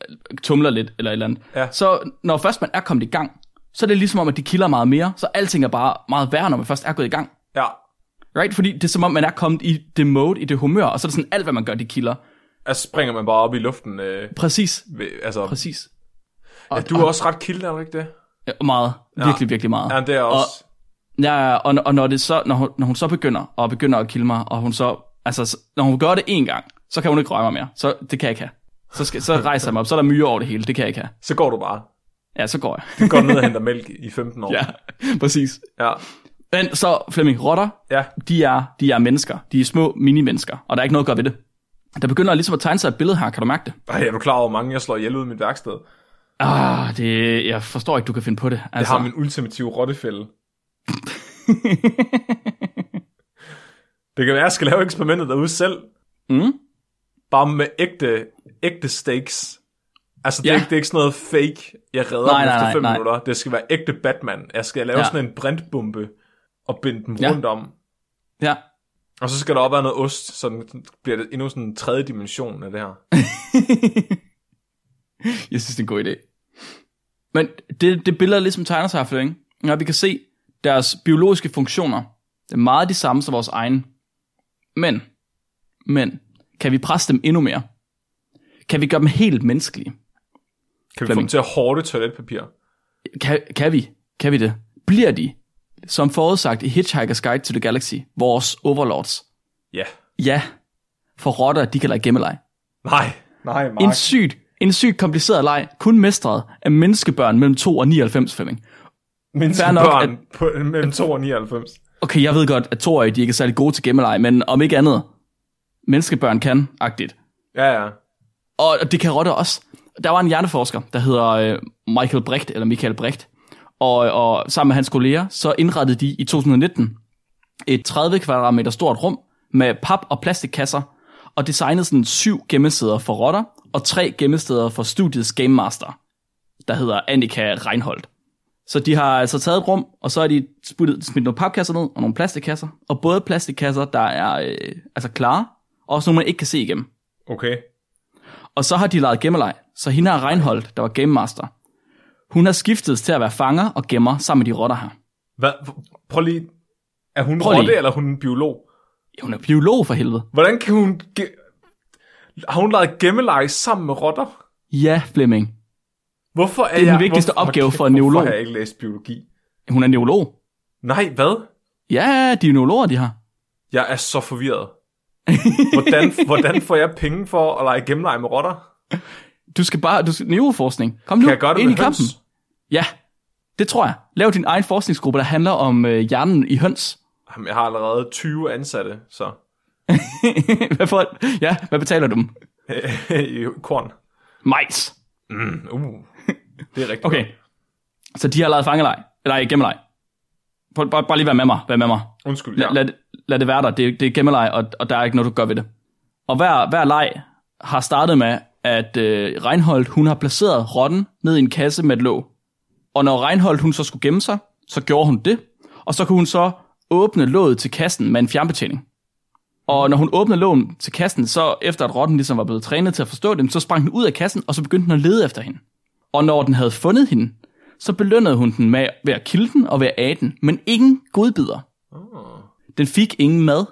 Speaker 4: tumler lidt, eller et eller andet,
Speaker 3: Ja.
Speaker 4: så når først man er kommet i gang, så er det ligesom om, at de kilder meget mere, så alting er bare meget værre, når man først er gået i gang.
Speaker 3: Ja,
Speaker 4: Right? Fordi det er som om, man er kommet i det mode, i det humør, og så er det sådan alt, hvad man gør, de kilder.
Speaker 3: altså springer man bare op i luften. Øh,
Speaker 4: Præcis,
Speaker 3: ved- altså,
Speaker 4: præcis.
Speaker 3: ja, du er også ret kilde, er du ikke det?
Speaker 4: Ja, Meget, virkelig, virkelig meget.
Speaker 3: Ja, det er jeg
Speaker 4: Og-
Speaker 3: også.
Speaker 4: Ja, og, og når, det så, når, hun, når hun så begynder, og begynder at kilde mig, og hun så, altså, så- når hun gør det en gang, så kan hun ikke røre mig mere. Så det kan jeg ikke have. Så, skal, så rejser jeg mig op, så er der myre over det hele. Det kan jeg ikke have.
Speaker 3: Så går du bare.
Speaker 4: Ja, så går jeg. [laughs]
Speaker 3: Du går ned og henter mælk i 15 år.
Speaker 4: ja, præcis.
Speaker 3: ja.
Speaker 4: Men så, Flemming, rotter,
Speaker 3: Ja.
Speaker 4: de er, de er mennesker. De er små mini-mennesker, og der er ikke noget at gøre ved det. Der begynder ligesom at tegne sig et billede her, kan du mærke det?
Speaker 3: Ej, er du klar over, hvor mange jeg slår ihjel ud i mit værksted? Jeg
Speaker 4: Ah, det, jeg forstår ikke, du kan finde på det. Altså,
Speaker 3: har min ultimative
Speaker 4: [laughs]
Speaker 3: rottefælde. det kan være, jeg skal lave eksperimentet derude selv.
Speaker 4: Mm.
Speaker 3: Bare med ægte, ægte stakes. Altså, det, er
Speaker 4: Ja.
Speaker 3: ikke, det er ikke sådan noget fake, jeg redder
Speaker 4: Nej,
Speaker 3: nej, dem
Speaker 4: nej,
Speaker 3: efter
Speaker 4: nej,
Speaker 3: fem
Speaker 4: nej.
Speaker 3: minutter. Det skal være ægte Batman. Jeg skal lave ja.
Speaker 4: Ja.
Speaker 3: sådan en brintbombe og binde den
Speaker 4: Ja.
Speaker 3: rundt om.
Speaker 4: Ja.
Speaker 3: Og så skal der op være noget ost, så den- bliver det endnu sådan en tredje dimension af det her.
Speaker 4: Jeg synes, det er en god idé. Men det, det billede, der ligesom tegner sig her, Flemming, når vi kan se deres biologiske funktioner, det er meget de samme som vores egen. Men, men, kan vi presse dem endnu mere? Kan vi gøre dem helt menneskelige?
Speaker 3: Kan vi få
Speaker 4: Flemming.
Speaker 3: dem til at hårde toiletpapir?
Speaker 4: Kan, kan vi? Kan vi det? Bliver de, som forudsagt i Hitchhiker's Guide to the Galaxy, vores overlords?
Speaker 3: Ja.
Speaker 4: Ja, for rotter, de kan lege gemmeleg.
Speaker 3: Nej. Nej,
Speaker 4: En sygt, en sygt kompliceret leg, kun mestret af menneskebørn mellem 2 og 99, Flemming.
Speaker 3: Menneske
Speaker 4: fair nok,
Speaker 3: børn på, mellem 2 og 99.
Speaker 4: Okay, jeg ved godt, at toårige, de ikke er særlig gode til gemmeleg, men om ikke andet, menneskebørn kan, agtigt.
Speaker 3: Ja, ja.
Speaker 4: Og det kan rotter også. Der var en hjerneforsker, der hedder øh, Michael Brecht, eller Michael Brecht, og, og sammen med hans kolleger, så indrettede de i 2019 et 30 kvadratmeter stort rum med pap- og plastikkasser, og designede sådan syv gemmesteder for rotter, og tre gemmesteder for studiets Game Master, der hedder Annika Reinholdt. Så de har altså taget et rum, og så har de sputtet, smidt nogle papkasser ned og nogle plastikkasser, og både plastikkasser, der er øh, altså klare, og også nogle, man ikke kan se igennem.
Speaker 3: Okay.
Speaker 4: Og så har de lejet gemmeleg, så hende her Reinholdt, der var game master, hun har skiftet til at være fanger og gemmer sammen med de rotter her.
Speaker 3: Hvad? Prøv lige. Er hun
Speaker 4: Prøv
Speaker 3: Prøv
Speaker 4: lige.
Speaker 3: rotte, eller er hun en biolog?
Speaker 4: Ja, Hun er biolog for helvede.
Speaker 3: Hvordan kan hun... Ge- har hun leget gemmeleje sammen med rotter?
Speaker 4: Ja, Flemming.
Speaker 3: Hvorfor er
Speaker 4: er den
Speaker 3: jeg,
Speaker 4: vigtigste
Speaker 3: hvorfor,
Speaker 4: opgave
Speaker 3: hvorfor
Speaker 4: for en neurolog.
Speaker 3: har jeg ikke læst biologi?
Speaker 4: Hun er neurolog.
Speaker 3: Nej, hvad?
Speaker 4: Ja, de er neurologer, de har.
Speaker 3: Jeg er så
Speaker 4: [laughs]
Speaker 3: forvirret. hvordan, hvordan får jeg penge for at lege gemmeleje med rotter?
Speaker 4: Du skal bare, du skal, neuroforskning. Kom nu,
Speaker 3: Kan jeg gøre det
Speaker 4: ind i
Speaker 3: med høns?
Speaker 4: kampen. Ja, det tror jeg. Lav din egen forskningsgruppe, der handler om øh, hjernen i høns. [laughs]
Speaker 3: Jamen, jeg har allerede 20 ansatte, så... [laughs]
Speaker 4: hvad, for, ja, hvad betaler du dem?
Speaker 3: I korn.
Speaker 4: Majs.
Speaker 3: Uh, det er rigtigt.
Speaker 4: Okay. Så de har lejet fangeleg. Eller gemmeleg. Prøv- Bare, bare lige være med mig. Vær med mig.
Speaker 3: Undskyld,
Speaker 4: Lad,
Speaker 3: ja.
Speaker 4: lad, det- lad det være der. Det, er- det er gemmeleg, og, og der er ikke noget, du gør ved det. Og hver, hver leg har startet med, at øh, Reinholdt, hun har placeret rotten ned i en kasse med et låg. Og når Reinholdt, hun så skulle gemme sig, så gjorde hun det. Og så kunne hun så åbne låget til kassen med en fjernbetjening. Og når hun åbnede lågen til kassen, så efter at rotten ligesom var blevet trænet til at forstå dem, så sprang den ud af kassen, og så begyndte den at lede efter hende. Og når den havde fundet hende, så belønnede hun den med ved at kilde den og ved at age den, men ingen godbider. Den fik ingen mad.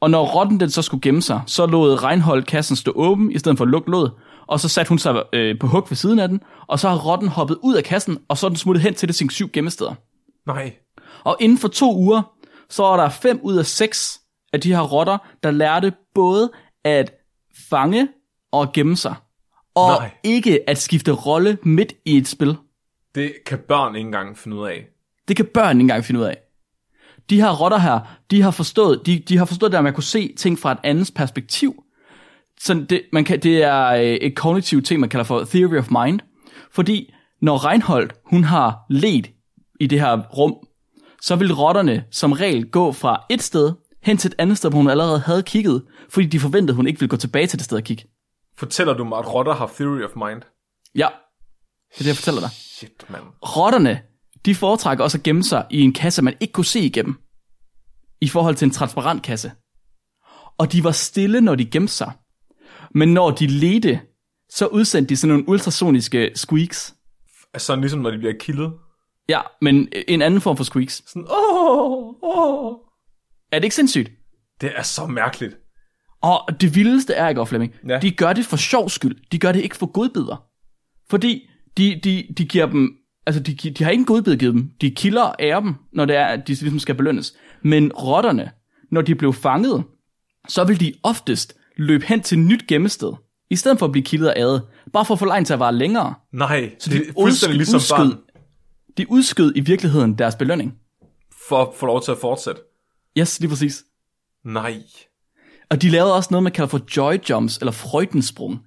Speaker 4: Og når rotten den så skulle gemme sig, så lod Reinhold kassen stå åben, i stedet for at lukke låget, og så satte hun sig øh, på hug ved siden af den, og så har rotten hoppet ud af kassen, og så er den smuttet hen til det sine syv gemmesteder.
Speaker 3: Nej.
Speaker 4: Og inden for to uger, så er der fem ud af seks af de her rotter, der lærte både at fange og gemme sig. Og
Speaker 3: Nej.
Speaker 4: Nej. ikke at skifte rolle midt i et spil.
Speaker 3: Det kan børn ikke engang finde ud af.
Speaker 4: Det kan børn ikke engang finde ud af. De her rotter her, de har forstået, de, de har forstået det, at man kunne se ting fra et andens perspektiv. Så det, man kan, det er øh, et kognitivt ting, man kalder for theory of mind. Fordi når Reinholdt, hun har let i det her rum, så vil rotterne som regel gå fra et sted hen til et andet sted, hvor hun allerede havde kigget, fordi de forventede, at hun ikke ville gå tilbage til det sted og kigge.
Speaker 3: Fortæller du mig, at rotter har theory of mind?
Speaker 4: Ja, det er det, jeg fortæller dig.
Speaker 3: Shit, mand.
Speaker 4: rotterne, de foretrækker også at gemme sig i en kasse, man ikke kunne se igennem. I forhold til en transparent kasse. Og de var stille, når de gemte sig. Men når de ledte, så udsendte de sådan nogle ultrasoniske squeaks.
Speaker 3: Altså, sådan ligesom når de bliver kildet.
Speaker 4: Ja, men en anden form for squeaks.
Speaker 3: Sådan, åh, åh.
Speaker 4: Er det ikke sindssygt?
Speaker 3: Det er så mærkeligt.
Speaker 4: Og det vildeste er ikke, Flemming,
Speaker 3: Ja.
Speaker 4: ja. de gør det for sjov skyld. De gør det ikke for godbidder. Fordi de, de, de giver dem, altså de, gi- de har ikke en godbid givet dem. De kilder og ærer dem, når det er, at de ligesom skal belønnes. Men rotterne, når de blev fanget, så vil de oftest løbe hen til et nyt gemmested, i stedet for at blive kildet og æret, bare for at få lejen til at vare længere.
Speaker 3: Nej, så
Speaker 4: de
Speaker 3: det er fuldstændig
Speaker 4: udsk-
Speaker 3: ligesom
Speaker 4: udskød-
Speaker 3: barn.
Speaker 4: De udskød i virkeligheden deres belønning.
Speaker 3: for at få lov til at fortsætte.
Speaker 4: Yes, lige præcis.
Speaker 3: Nej.
Speaker 4: Og de lavede også noget, man kalder for joy jumps, eller freudenspring.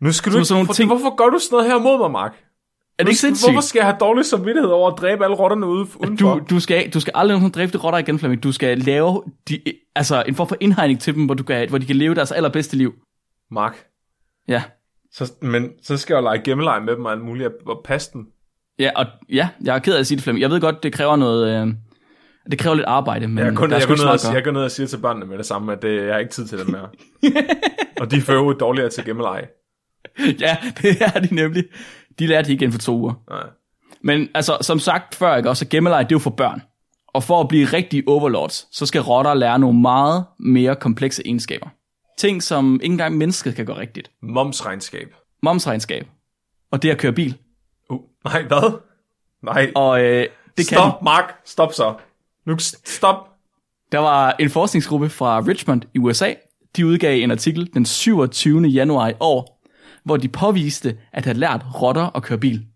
Speaker 3: Nu skal du
Speaker 4: Som
Speaker 3: ikke,
Speaker 4: sådan nogle
Speaker 3: for,
Speaker 4: ting-
Speaker 3: ting... hvorfor gør du sådan noget her mod mig, Mark?
Speaker 4: Er det ikke sindssygt?
Speaker 3: Hvorfor skal jeg have dårlig samvittighed over at dræbe alle rotterne ude udenfor?
Speaker 4: Du, du, skal, du skal aldrig nogensinde dræbe de rotter igen, Flemming. Du skal lave de, altså en form for indhegning til dem, hvor, du kan, hvor de kan leve deres allerbedste liv.
Speaker 3: Mark,
Speaker 4: Ja,
Speaker 3: så, men så skal jeg jo lege gemmeleje med dem og alt muligt, og passe dem.
Speaker 4: ja, og, ja jeg er ked af at sige det, Flemming. Jeg ved godt, det kræver noget... Øh, det kræver lidt arbejde, men
Speaker 3: Jeg går
Speaker 4: kun, Mm, der
Speaker 3: ned,
Speaker 4: er
Speaker 3: jeg,
Speaker 4: sgu
Speaker 3: går
Speaker 4: ikke
Speaker 3: ned,
Speaker 4: så
Speaker 3: og,
Speaker 4: meget at
Speaker 3: siger-
Speaker 4: gøre.
Speaker 3: jeg går ned og siger til børnene med det samme, at det, jeg har ikke tid til det
Speaker 4: [laughs]
Speaker 3: mere. og de er for øvrigt dårligere til gemmeleje.
Speaker 4: Ja, [laughs] det er de nemlig. De lærte de igen for to uger.
Speaker 3: Nej.
Speaker 4: Men altså, som sagt før, ikke også, så gemmeleje, det er jo for børn. Og for at blive rigtige overlords, så skal rotter lære nogle meget mere komplekse egenskaber. Ting, som ikke engang mennesket kan gøre rigtigt.
Speaker 3: Momsregnskab.
Speaker 4: Momsregnskab. Og det at køre bil.
Speaker 3: Uh, nej, hvad? Nej.
Speaker 4: Og øh, det kan
Speaker 3: stop, Mark. Stop så. Nu, s- stop.
Speaker 4: Der var en forskningsgruppe fra Richmond i USA. De udgav en artikel den 27. januar i år, hvor de påviste at have lært rotter at køre bil.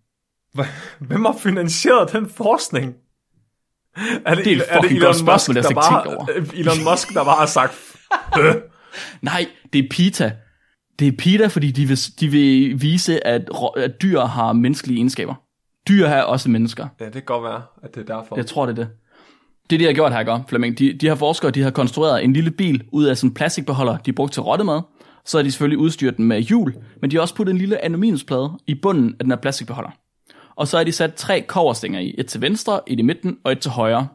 Speaker 3: Hva- Hvem har finansieret den forskning? Er det,
Speaker 4: er et fucking godt spørgsmål, jeg
Speaker 3: der
Speaker 4: slet ikke
Speaker 3: bare,
Speaker 4: tænkt
Speaker 3: [laughs] Elon Musk, der bare har sagt,
Speaker 4: Nej, det er PETA. Det er PETA, fordi de vil, de vil vise, at, ro- at dyr har menneskelige egenskaber. Dyr har også mennesker.
Speaker 3: ja, det kan godt være, at det er derfor.
Speaker 4: Jeg tror, det er det. Det er det, jeg har gjort her, ikke? Flemming. De, de her forskere, de har konstrueret en lille bil ud af sådan en plastikbeholder, de brugte til rottemad. Så har de selvfølgelig udstyret den med hjul, men de har også puttet en lille aluminiumsplade i bunden af den her plastikbeholder. Og så har de sat tre koverstænger i. Et til venstre, et i midten og et til højre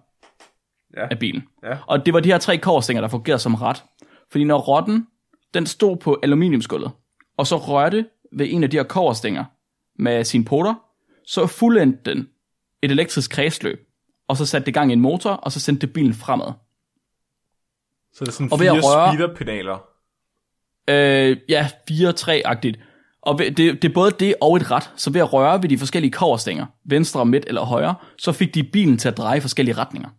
Speaker 3: Ja.
Speaker 4: af bilen.
Speaker 3: Ja.
Speaker 4: Og det var de her tre koverstænger, der fungerede som ret. Fordi når rotten, den stod på aluminiumsgulvet, og så rørte ved en af de her koverstænger med sine poter, så fuldendte den et elektrisk kredsløb, og så satte det gang i en motor, og så sendte det bilen fremad.
Speaker 3: Så det er sådan
Speaker 4: Og ved at
Speaker 3: fire
Speaker 4: røre-
Speaker 3: speederpedaler.
Speaker 4: Øh, ja, 4-3-agtigt. Og ved- det, det er både det og et ret, så ved at røre ved de forskellige koverstænger, venstre, midt eller højre, så fik de bilen til at dreje i forskellige retninger.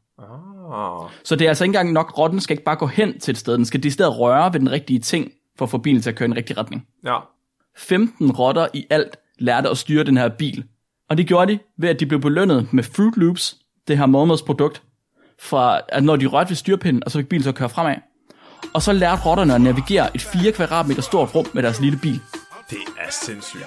Speaker 3: Ah.
Speaker 4: Så det er altså ikke engang nok, rotten skal ikke bare gå hen til et sted, den skal i stedet røre ved den rigtige ting, for at få bilen til at køre i en rigtig retning.
Speaker 3: Ja.
Speaker 4: 15 rotter i alt lærte at styre den her bil. Og det gjorde de ved, at de blev belønnet med Fruit Loops, det her mormadsprodukt, fra, at når de rørte ved styrpinden, og så fik bilen til at køre fremad. Og så lærte rotterne at navigere et 4 kvadratmeter stort rum med deres lille bil.
Speaker 3: Det er sindssygt.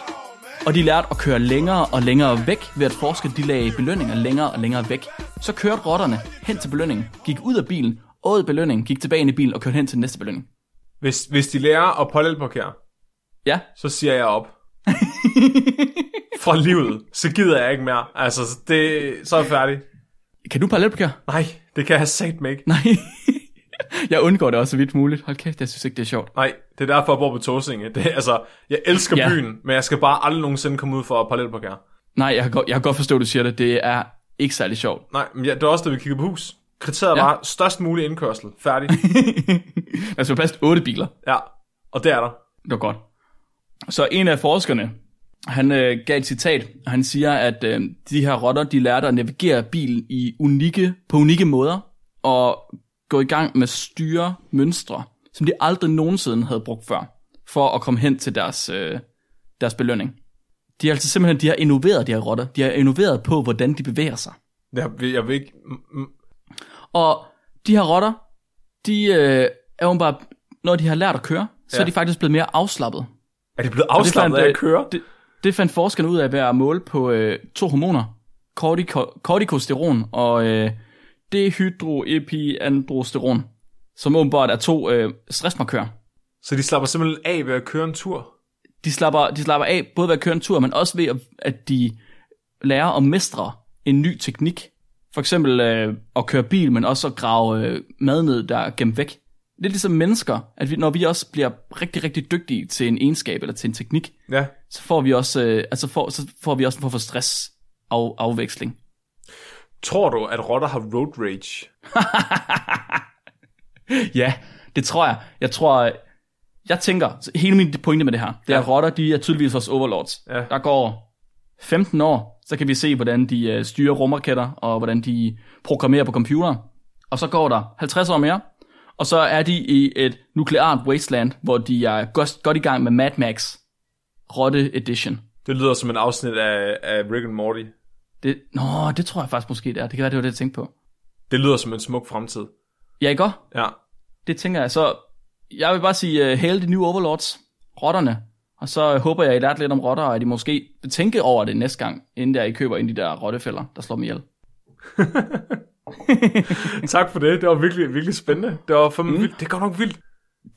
Speaker 4: Og de lærte at køre længere og længere væk ved at forske, de lagde belønninger længere og længere væk. Så kørte rotterne hen til belønningen, gik ud af bilen, åd belønningen, gik tilbage ind i bilen og kørte hen til den næste belønning.
Speaker 3: Hvis, hvis de lærer at parallelparkere,
Speaker 4: Ja,
Speaker 3: så siger jeg op. Fra livet. Så gider jeg ikke mere. Altså, det, så er jeg færdig.
Speaker 4: kan du parallelparkere? [laughs]
Speaker 3: Nej, det kan jeg satme ikke.
Speaker 4: Nej. jeg undgår det også så vidt muligt. Hold kæft, jeg synes ikke, det er sjovt.
Speaker 3: Nej, det er derfor, jeg bor på Tåsinge. Det, er- altså, jeg elsker
Speaker 4: Ja.
Speaker 3: ja. byen, men jeg skal bare aldrig nogensinde komme ud for at parallelparkere.
Speaker 4: Nej, jeg kan, godt, jeg kan godt forstå, at du siger det. Det er ikke særlig sjovt.
Speaker 3: Nej, men ja, det var også, da vi kiggede på hus. Kriteriet ja. var størst mulig indkørsel. Færdig.
Speaker 4: Der skal være plads til otte biler.
Speaker 3: ja, og det er der.
Speaker 4: Det var godt. Så en af forskerne, han øh, gav et citat, og han siger, at øh, de her rotter, de lærte at navigere bilen i unikke, på unikke måder, og gå i gang med styre mønstre, som de aldrig nogensinde havde brugt før, for at komme hen til deres, øh, deres belønning. De har altså simpelthen, de har innoveret de her rotter, de har innoveret på, hvordan de bevæger sig.
Speaker 3: Jeg, vil- jeg vil ikke... mm, mm.
Speaker 4: Og de her rotter, de øh, er jo bare, når de har lært at køre, så ja. er
Speaker 3: Ja.
Speaker 4: de faktisk blevet mere afslappet.
Speaker 3: Er det blevet
Speaker 4: Og det
Speaker 3: afslappet
Speaker 4: fandt,
Speaker 3: af
Speaker 4: øh,
Speaker 3: at køre?
Speaker 4: Det, det fandt forskerne ud af ved at måle på øh, to hormoner, cortico, corticosteron og øh, dehydroepiandrosteron, som åbenbart er to øh, stressmarkører.
Speaker 3: Så de slapper simpelthen af ved at køre en tur?
Speaker 4: De slapper, de slapper af både ved at køre en tur, men også ved, at, at de lærer at mestre en ny teknik. For eksempel øh, at køre bil, men også at grave øh, mad ned, der er gemt væk. Lidt ligesom mennesker, at vi, når vi også bliver rigtig, rigtig dygtige til en egenskab eller til en teknik,
Speaker 3: Ja.
Speaker 4: så får vi også, øh, altså får, så får vi også en form for stress af, afveksling.
Speaker 3: Tror du, at rotter har road rage?
Speaker 4: Ja, det tror jeg. Jeg tror, øh, jeg tænker, så hele min pointe med det her, det er, at rotter, de er tydeligvis også overlords.
Speaker 3: Ja.
Speaker 4: Der går 15 år, så kan vi se, hvordan de øh, styrer rumraketter, og hvordan de programmerer på computer. Og så går der 50 år mere, og så er de i et nukleart wasteland, hvor de er godt, godt i gang med Mad Max Rotte Edition.
Speaker 3: Det lyder som en afsnit af, af Rick and Morty.
Speaker 4: Det, nå, det tror jeg faktisk måske, det er. Det kan være, det var det, jeg tænkte på.
Speaker 3: Det lyder som en smuk fremtid.
Speaker 4: Ja, ikke også?
Speaker 3: Ja.
Speaker 4: Det tænker jeg. Så jeg vil bare sige, uh, hail de nye overlords, rotterne. Og så øh, håber jeg, I lærte lidt om rotter, og at I måske vil tænke over det næste gang, inden der I køber ind i de der rottefælder, der slår dem ihjel.
Speaker 3: Tak for det. Det var virkelig, virkelig spændende. Det var for mm. vildt. Det er godt nok vildt.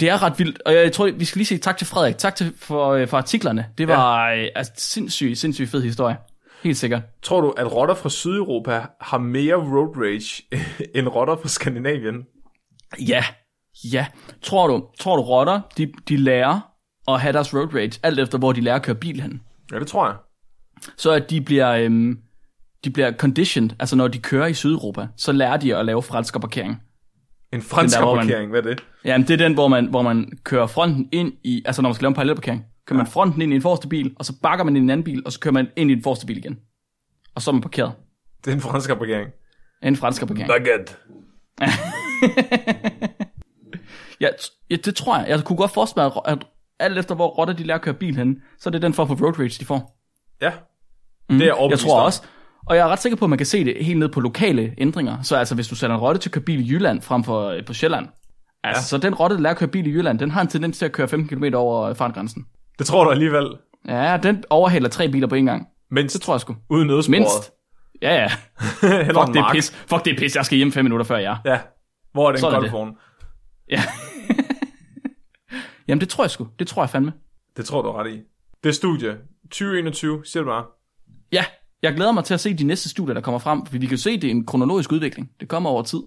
Speaker 4: Det er ret vildt, og jeg tror, vi skal lige sige tak til Frederik. Tak til, for, øh, for artiklerne. Det var ja. altså, sindssygt, sindssygt fed historie. Helt sikkert.
Speaker 3: Tror du, at rotter fra Sydeuropa har mere road rage [laughs] end rotter fra Skandinavien?
Speaker 4: Ja, ja. Tror du, tror du rotter, de, de lærer at have deres road rage, alt efter hvor de lærer at køre bil hen.
Speaker 3: Ja, det tror jeg.
Speaker 4: Så at de bliver, øhm, de bliver conditioned, altså når de kører i Sydeuropa, så lærer de at lave frelskerparkering.
Speaker 3: En fransk
Speaker 4: hvor man-
Speaker 3: parkering, hvad er det?
Speaker 4: Jamen det er den, hvor man, hvor man kører fronten ind i, altså når man skal lave en parallelparkering, kører man fronten ind i en forreste bil, og så bakker man ind i en anden bil, og så kører man ind i den forreste bil igen. Og så er man parkeret.
Speaker 3: Det er en fransk parkering.
Speaker 4: En frelskerparkering.
Speaker 3: Baguette.
Speaker 4: Ja, t- ja, det tror jeg. Jeg kunne godt forestille mig, at- at alt efter hvor rotter de lærer at køre bil hen, så er det den form for road rage, de får.
Speaker 3: Ja. Mm. Det er
Speaker 4: Jeg
Speaker 3: overbevist
Speaker 4: tror
Speaker 3: om.
Speaker 4: også. Og jeg er ret sikker på, at man kan se det helt ned på lokale ændringer. Så altså, hvis du sætter en rotte til at køre bil i Jylland frem for øh, på Sjælland, altså, ja. så den rotte, der lærer at køre bil i Jylland, den har en tendens til at køre 15 km over øh, fartgrænsen.
Speaker 3: Det tror du alligevel.
Speaker 4: Ja, den overhaler tre biler på en gang.
Speaker 3: Mindst.
Speaker 4: Det tror jeg sgu.
Speaker 3: Uden nødsporet. [laughs]
Speaker 4: Mindst. Ja, ja.
Speaker 3: Heller
Speaker 4: Fuck,
Speaker 3: en
Speaker 4: det er
Speaker 3: mark.
Speaker 4: pis. Fuck, det er pis. Jeg skal hjem 5 minutter før jer.
Speaker 3: Ja. Hvor er den
Speaker 4: Sådan er det.
Speaker 3: golfvogn?
Speaker 4: Jamen, det tror jeg sgu. Det tror jeg fandme.
Speaker 3: Det tror du er ret i. Det er studie. 2021, siger du bare.
Speaker 4: Ja, jeg glæder mig til at se de næste studier, der kommer frem, for vi kan jo se, at det er en kronologisk udvikling. Det kommer over tid.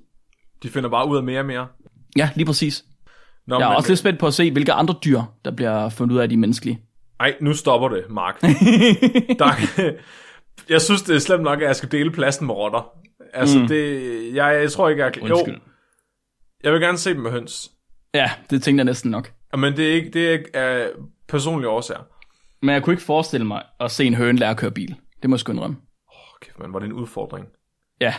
Speaker 3: De finder bare ud af mere og mere.
Speaker 4: Ja, lige præcis.
Speaker 3: Nå,
Speaker 4: Jeg er
Speaker 3: men- øh,
Speaker 4: også lidt spændt på at se, hvilke andre dyr, der bliver fundet ud af de menneskelige.
Speaker 3: Ej, nu stopper det, Mark. der, jeg synes, det er slemt nok, at jeg skal dele pladsen med rotter. Altså, mm. det... Jeg, jeg tror ikke, jeg kan... Jo,
Speaker 4: Undskyld.
Speaker 3: jeg vil gerne se dem med høns.
Speaker 4: Ja, det tænkte jeg næsten nok.
Speaker 3: Men det er ikke... Det er ikke af personlige årsager.
Speaker 4: Men jeg kunne ikke forestille mig at se en høne lære at køre bil. Det må jeg sgu indrømme.
Speaker 3: Åh, kæft, man, var det en udfordring.
Speaker 4: Ja,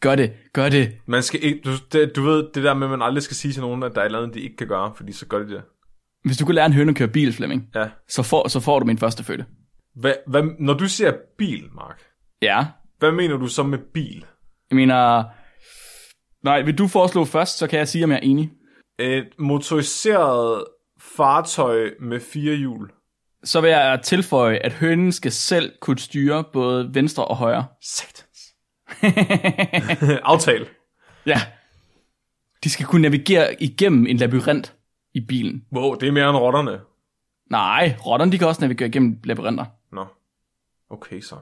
Speaker 4: gør det, gør det.
Speaker 3: Man skal ikke... Du, det, du ved, det der med, at man aldrig skal sige til nogen, at der er et eller andet, de ikke kan gøre, fordi så gør de det.
Speaker 4: Hvis du kunne lære en høne at køre bil, Flemming,
Speaker 3: Ja.
Speaker 4: så får, så får du min første fødte.
Speaker 3: Hvad, hvad, når du siger bil, Mark,
Speaker 4: Ja,
Speaker 3: hvad mener du så med bil?
Speaker 4: jeg mener... Nej, vil du foreslå først, så kan jeg sige, om jeg er enig.
Speaker 3: Et motoriseret fartøj med fire hjul.
Speaker 4: Så vil jeg tilføje, at hønen skal selv kunne styre både venstre og højre. [laughs]
Speaker 3: Satans. [laughs] Aftale.
Speaker 4: Ja. De skal kunne navigere igennem en labyrint i bilen.
Speaker 3: Wow, det er mere end rotterne.
Speaker 4: Nej, rotterne de kan også navigere igennem labyrinter.
Speaker 3: Nå. Okay, så.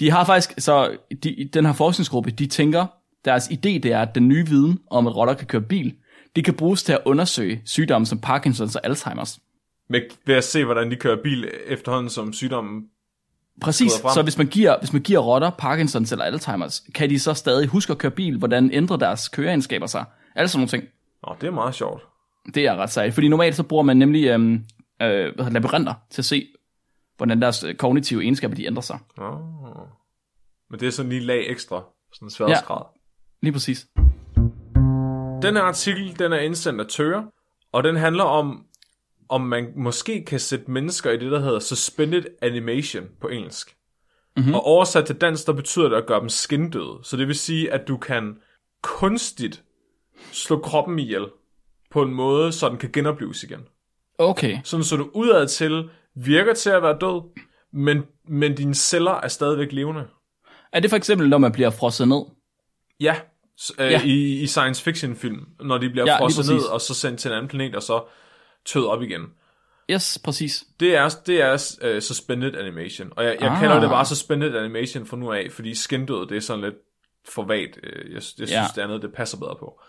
Speaker 4: De har faktisk, så de, den her forskningsgruppe, de tænker, deres idé det er, at den nye viden om, at rotter kan køre bil, det kan bruges til at undersøge sygdomme som Parkinsons og Alzheimers.
Speaker 3: Med, ved at se, hvordan de kører bil efterhånden som sygdommen.
Speaker 4: Præcis,
Speaker 3: Skrider frem.
Speaker 4: så hvis man, giver, hvis man giver rotter Parkinsons eller Alzheimers, kan de så stadig huske at køre bil, hvordan ændrer deres køreegenskaber sig, alle sådan nogle ting.
Speaker 3: Nå, det er meget sjovt.
Speaker 4: Det er ret sejt, fordi normalt så bruger man nemlig øhm, øh, hvad hedder det, labyrinter til at se, hvordan deres øh, kognitive egenskaber de ændrer sig.
Speaker 3: Nå. Men det er sådan lige lag ekstra. Sådan en sværdesgrad. Ja.
Speaker 4: Lige præcis.
Speaker 3: Den her artikel, den er indsendt af Tøre, og den handler om, om man måske kan sætte mennesker i det, der hedder suspended animation på engelsk. Mm-hmm. Og oversat til dansk, der betyder det at gøre dem skindøde. Så det vil sige, at du kan kunstigt slå kroppen ihjel på en måde, så den kan genopleves igen.
Speaker 4: Okay,
Speaker 3: Sådan så du udad til virker til at være død, men, men dine celler er stadigvæk levende.
Speaker 4: er det for eksempel, når man bliver frosset ned?
Speaker 3: Ja, s- øh,
Speaker 4: Ja.
Speaker 3: ja. I, i science fiction film, når de bliver
Speaker 4: Ja,
Speaker 3: ja,
Speaker 4: lige
Speaker 3: frosset ned
Speaker 4: præcis.
Speaker 3: og så sendt til en anden planet og så tøet op igen.
Speaker 4: Yes, præcis.
Speaker 3: Det er, det er uh, suspended animation, og jeg, jeg
Speaker 4: Ah.
Speaker 3: ah. kalder det bare suspended animation fra nu af, fordi skindød, det er sådan lidt for vagt. Øh, Jeg, jeg synes,
Speaker 4: Ja.
Speaker 3: det andet, det passer bedre på.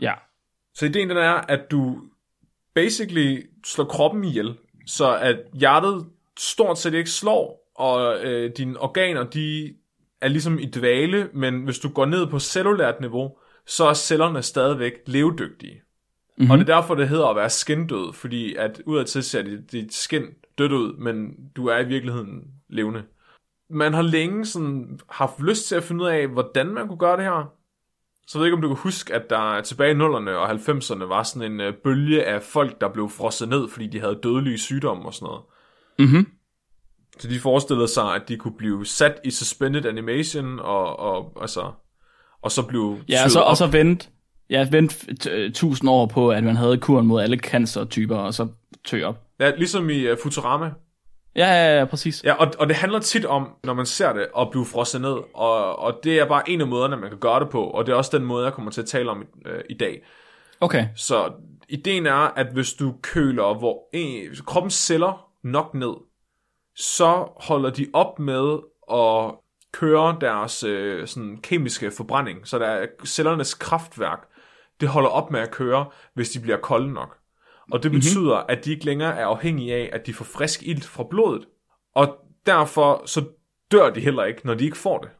Speaker 4: Ja,
Speaker 3: Så ideen den er, at du basically slår kroppen ihjel, så at hjertet stort set ikke slår, og øh, dine organer, de er ligesom i dvale, men hvis du går ned på cellulært niveau, så er cellerne stadigvæk levedygtige. Mm-hmm. Og det er derfor, det hedder at være skindød, fordi at udadtil ser dit, dit skin dødt ud, men du er i virkeligheden levende. Man har længe sådan haft lyst til at finde ud af, hvordan man kunne gøre det her, så jeg ved ikke, om du kan huske, at der tilbage i 0'erne og 90'erne var sådan en øh, bølge af folk, der blev frosset ned, fordi de havde dødelige sygdomme og sådan noget.
Speaker 4: Mhm.
Speaker 3: Så de forestillede sig, at de kunne blive sat i suspended animation og, og altså og så blev
Speaker 4: Ja, altså- og så, og så vente, ja, vente tusind år på, at man havde kuren mod alle cancertyper, og så tø op.
Speaker 3: Ja, ligesom i uh, Futurama.
Speaker 4: Ja, ja, ja, præcis.
Speaker 3: Ja, og, og det handler tit om, når man ser det, at blive frosset ned, og, og det er bare en af måderne, man kan gøre det på, og det er også den måde, jeg kommer til at tale om øh, i dag.
Speaker 4: Okay.
Speaker 3: Så ideen er, at hvis du køler hvor en, hvis kroppens celler nok ned, så holder de op med at køre deres øh, sådan kemiske forbrænding. Så der er cellernes kraftværk, det holder op med at køre, hvis de bliver kolde nok. Og det betyder, mm-hmm. at de ikke længere er afhængige af, at de får frisk ilt fra blodet. Og derfor så dør de heller ikke, når de ikke får det.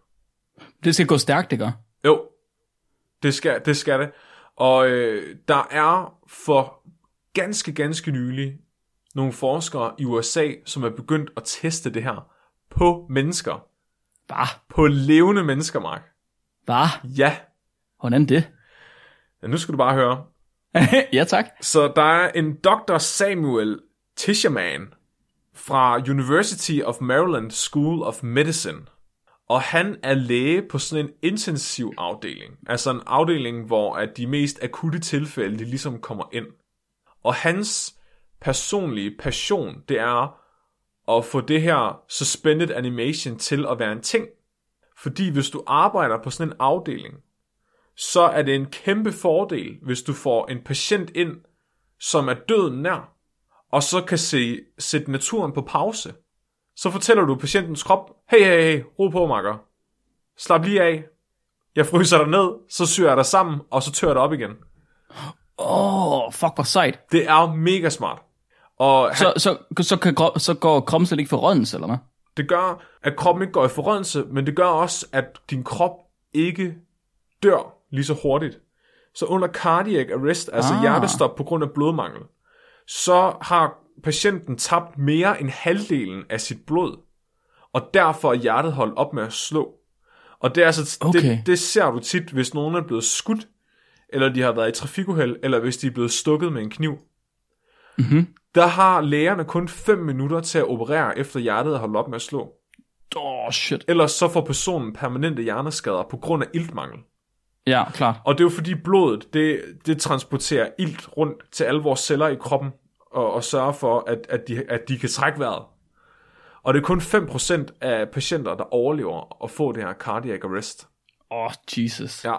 Speaker 4: Det skal gå stærkt, ikke?
Speaker 3: Jo, det skal det. Skal det. Og øh, der er for ganske, ganske nylig nogle forskere i USA, som er begyndt at teste det her på mennesker.
Speaker 4: Bah,
Speaker 3: På levende mennesker, Mark.
Speaker 4: bah.
Speaker 3: Ja.
Speaker 4: Hvordan det?
Speaker 3: ja nu skal du bare høre.
Speaker 4: ja, tak.
Speaker 3: Så der er en Dr. Samuel Tishaman fra University of Maryland School of Medicine. Og han er læge på sådan en intensiv afdeling. Altså en afdeling, hvor at de mest akutte tilfælde de ligesom kommer ind. Og hans personlige passion, det er at få det her suspended animation til at være en ting. Fordi hvis du arbejder på sådan en afdeling, så er det en kæmpe fordel, hvis du får en patient ind, som er døden nær, og så kan se, sætte naturen på pause. Så fortæller du patientens krop, hey, hey, hey, ro på, makker. Slap lige af. Jeg fryser dig ned, så syr jeg dig sammen, og så tør jeg dig op igen.
Speaker 4: Åh, oh, fuck, hvor sejt.
Speaker 3: Det er mega smart. Og han,
Speaker 4: Så, så, så, kan, gro- så går kroppen slet ikke for rådens, eller hvad?
Speaker 3: det gør, at kroppen ikke går i forrørelse, men det gør også, at din krop ikke dør lige så hurtigt. Så under cardiac arrest, altså ah. hjertestop på grund af blodmangel, så har patienten tabt mere end halvdelen af sit blod, og derfor er hjertet holdt op med at slå. Og det, er altså, okay.
Speaker 4: Okay.
Speaker 3: det, det ser du tit, hvis nogen er blevet skudt, eller de har været i trafikuheld, eller hvis de er blevet stukket med en kniv. Mm-hmm. Der har lægerne kun 5 minutter til at operere, efter hjertet er holdt op med at slå.
Speaker 4: Åh, oh, shit.
Speaker 3: Ellers så får personen permanente hjerneskader på grund af iltmangel.
Speaker 4: Ja, klart.
Speaker 3: Og det er jo fordi blodet, det, det transporterer ilt rundt til alle vores celler i kroppen, og, og sørger for, at, at, de, at de kan trække vejret. Og det er kun 5% af patienter, der overlever at få det her cardiac arrest.
Speaker 4: Åh, oh, Jesus. Ja.
Speaker 3: Ja.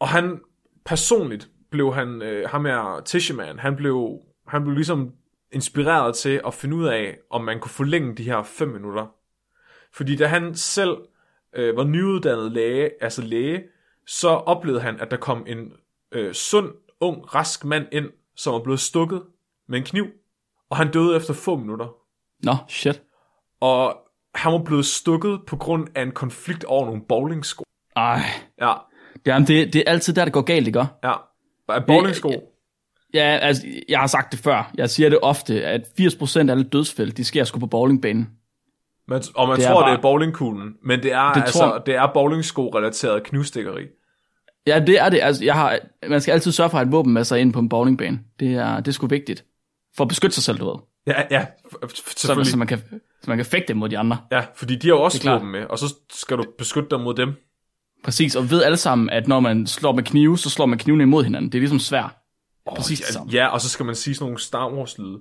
Speaker 3: Og han, personligt blev han, øh, ham her Tishaman, han blev, han blev ligesom inspireret til at finde ud af, om man kunne forlænge de her 5 minutter. Fordi da han selv øh, var nyuddannet læge, altså læge, så oplevede han, at der kom en øh, sund, ung, rask mand ind, som var blevet stukket med en kniv, og han døde efter få minutter.
Speaker 4: Nå, shit.
Speaker 3: Og han var blevet stukket på grund af en konflikt over nogle bowlingsko.
Speaker 4: Ej.
Speaker 3: Ja,
Speaker 4: Jamen, det, det er altid der, det går galt, ikke?
Speaker 3: ja. Af
Speaker 4: Øh,
Speaker 3: bowlingsko.
Speaker 4: Ja, altså, jeg har sagt det før. Jeg siger det ofte, at 80% af alle dødsfælde, de sker sgu på bowlingbanen.
Speaker 3: Man, og man
Speaker 4: Det
Speaker 3: det
Speaker 4: er
Speaker 3: tror,
Speaker 4: bare-
Speaker 3: det er bowlingkuglen, men det er,
Speaker 4: Det
Speaker 3: det altså,
Speaker 4: tror-
Speaker 3: det er bowlingsko-relateret knivstikkeri.
Speaker 4: Ja, det er det. Altså, jeg har, man skal altid sørge for at have et våben med sig ind på en bowlingbane. Det er, det er sgu vigtigt. For at beskytte sig selv, du ved.
Speaker 3: Ja, ja, f- f-
Speaker 4: Så,
Speaker 3: selvfølgelig.
Speaker 4: så, man, kan, så man kan fægte mod de andre.
Speaker 3: Ja, fordi de har jo også
Speaker 4: Det er klart.
Speaker 3: våben med, og så skal du beskytte dig mod dem.
Speaker 4: Præcis, og ved alle sammen, at når man slår med knive, så slår man knivene imod hinanden. Det er ligesom svær. Oh, Præcis det samme. [laughs]
Speaker 3: Ja, ja, og så skal man sige sådan nogle Star Wars-lyde.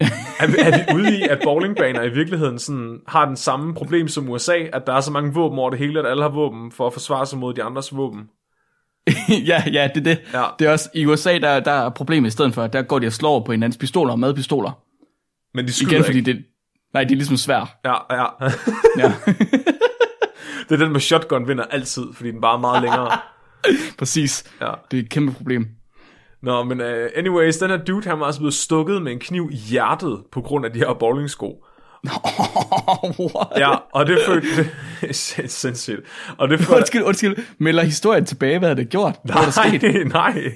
Speaker 3: [laughs] er, vi- er vi ude i, at bowlingbaner i virkeligheden sådan, har den samme problem som USA, at der er så mange våben over det hele, at alle har våben for at forsvare sig mod de andres våben?
Speaker 4: ja, ja, det er det.
Speaker 3: Ja.
Speaker 4: Det er også, i USA, der, der er problemet i stedet for, at der går de og slår på hinandens pistoler og madpistoler.
Speaker 3: Men de skyder
Speaker 4: Igen, fordi
Speaker 3: ikke.
Speaker 4: det, nej, det er ligesom svær.
Speaker 3: Ja, ja.
Speaker 4: Ja,
Speaker 3: [laughs] det er den med shotgun vinder altid, fordi den bare er meget længere.
Speaker 4: præcis.
Speaker 3: Ja.
Speaker 4: Det er et kæmpe problem.
Speaker 3: Nå, men uh, anyways, den her dude, han var altså blevet stukket med en kniv i hjertet på grund af de her bowlingsko.
Speaker 4: What?
Speaker 3: [laughs] Ja, og det følte... [laughs] Det, sind- sindssygt. Og det følte...
Speaker 4: [laughs] Undskyld, undskyld. Melder historien tilbage, hvad har det gjort? Hvad er der sket?
Speaker 3: Nej, [laughs] nej.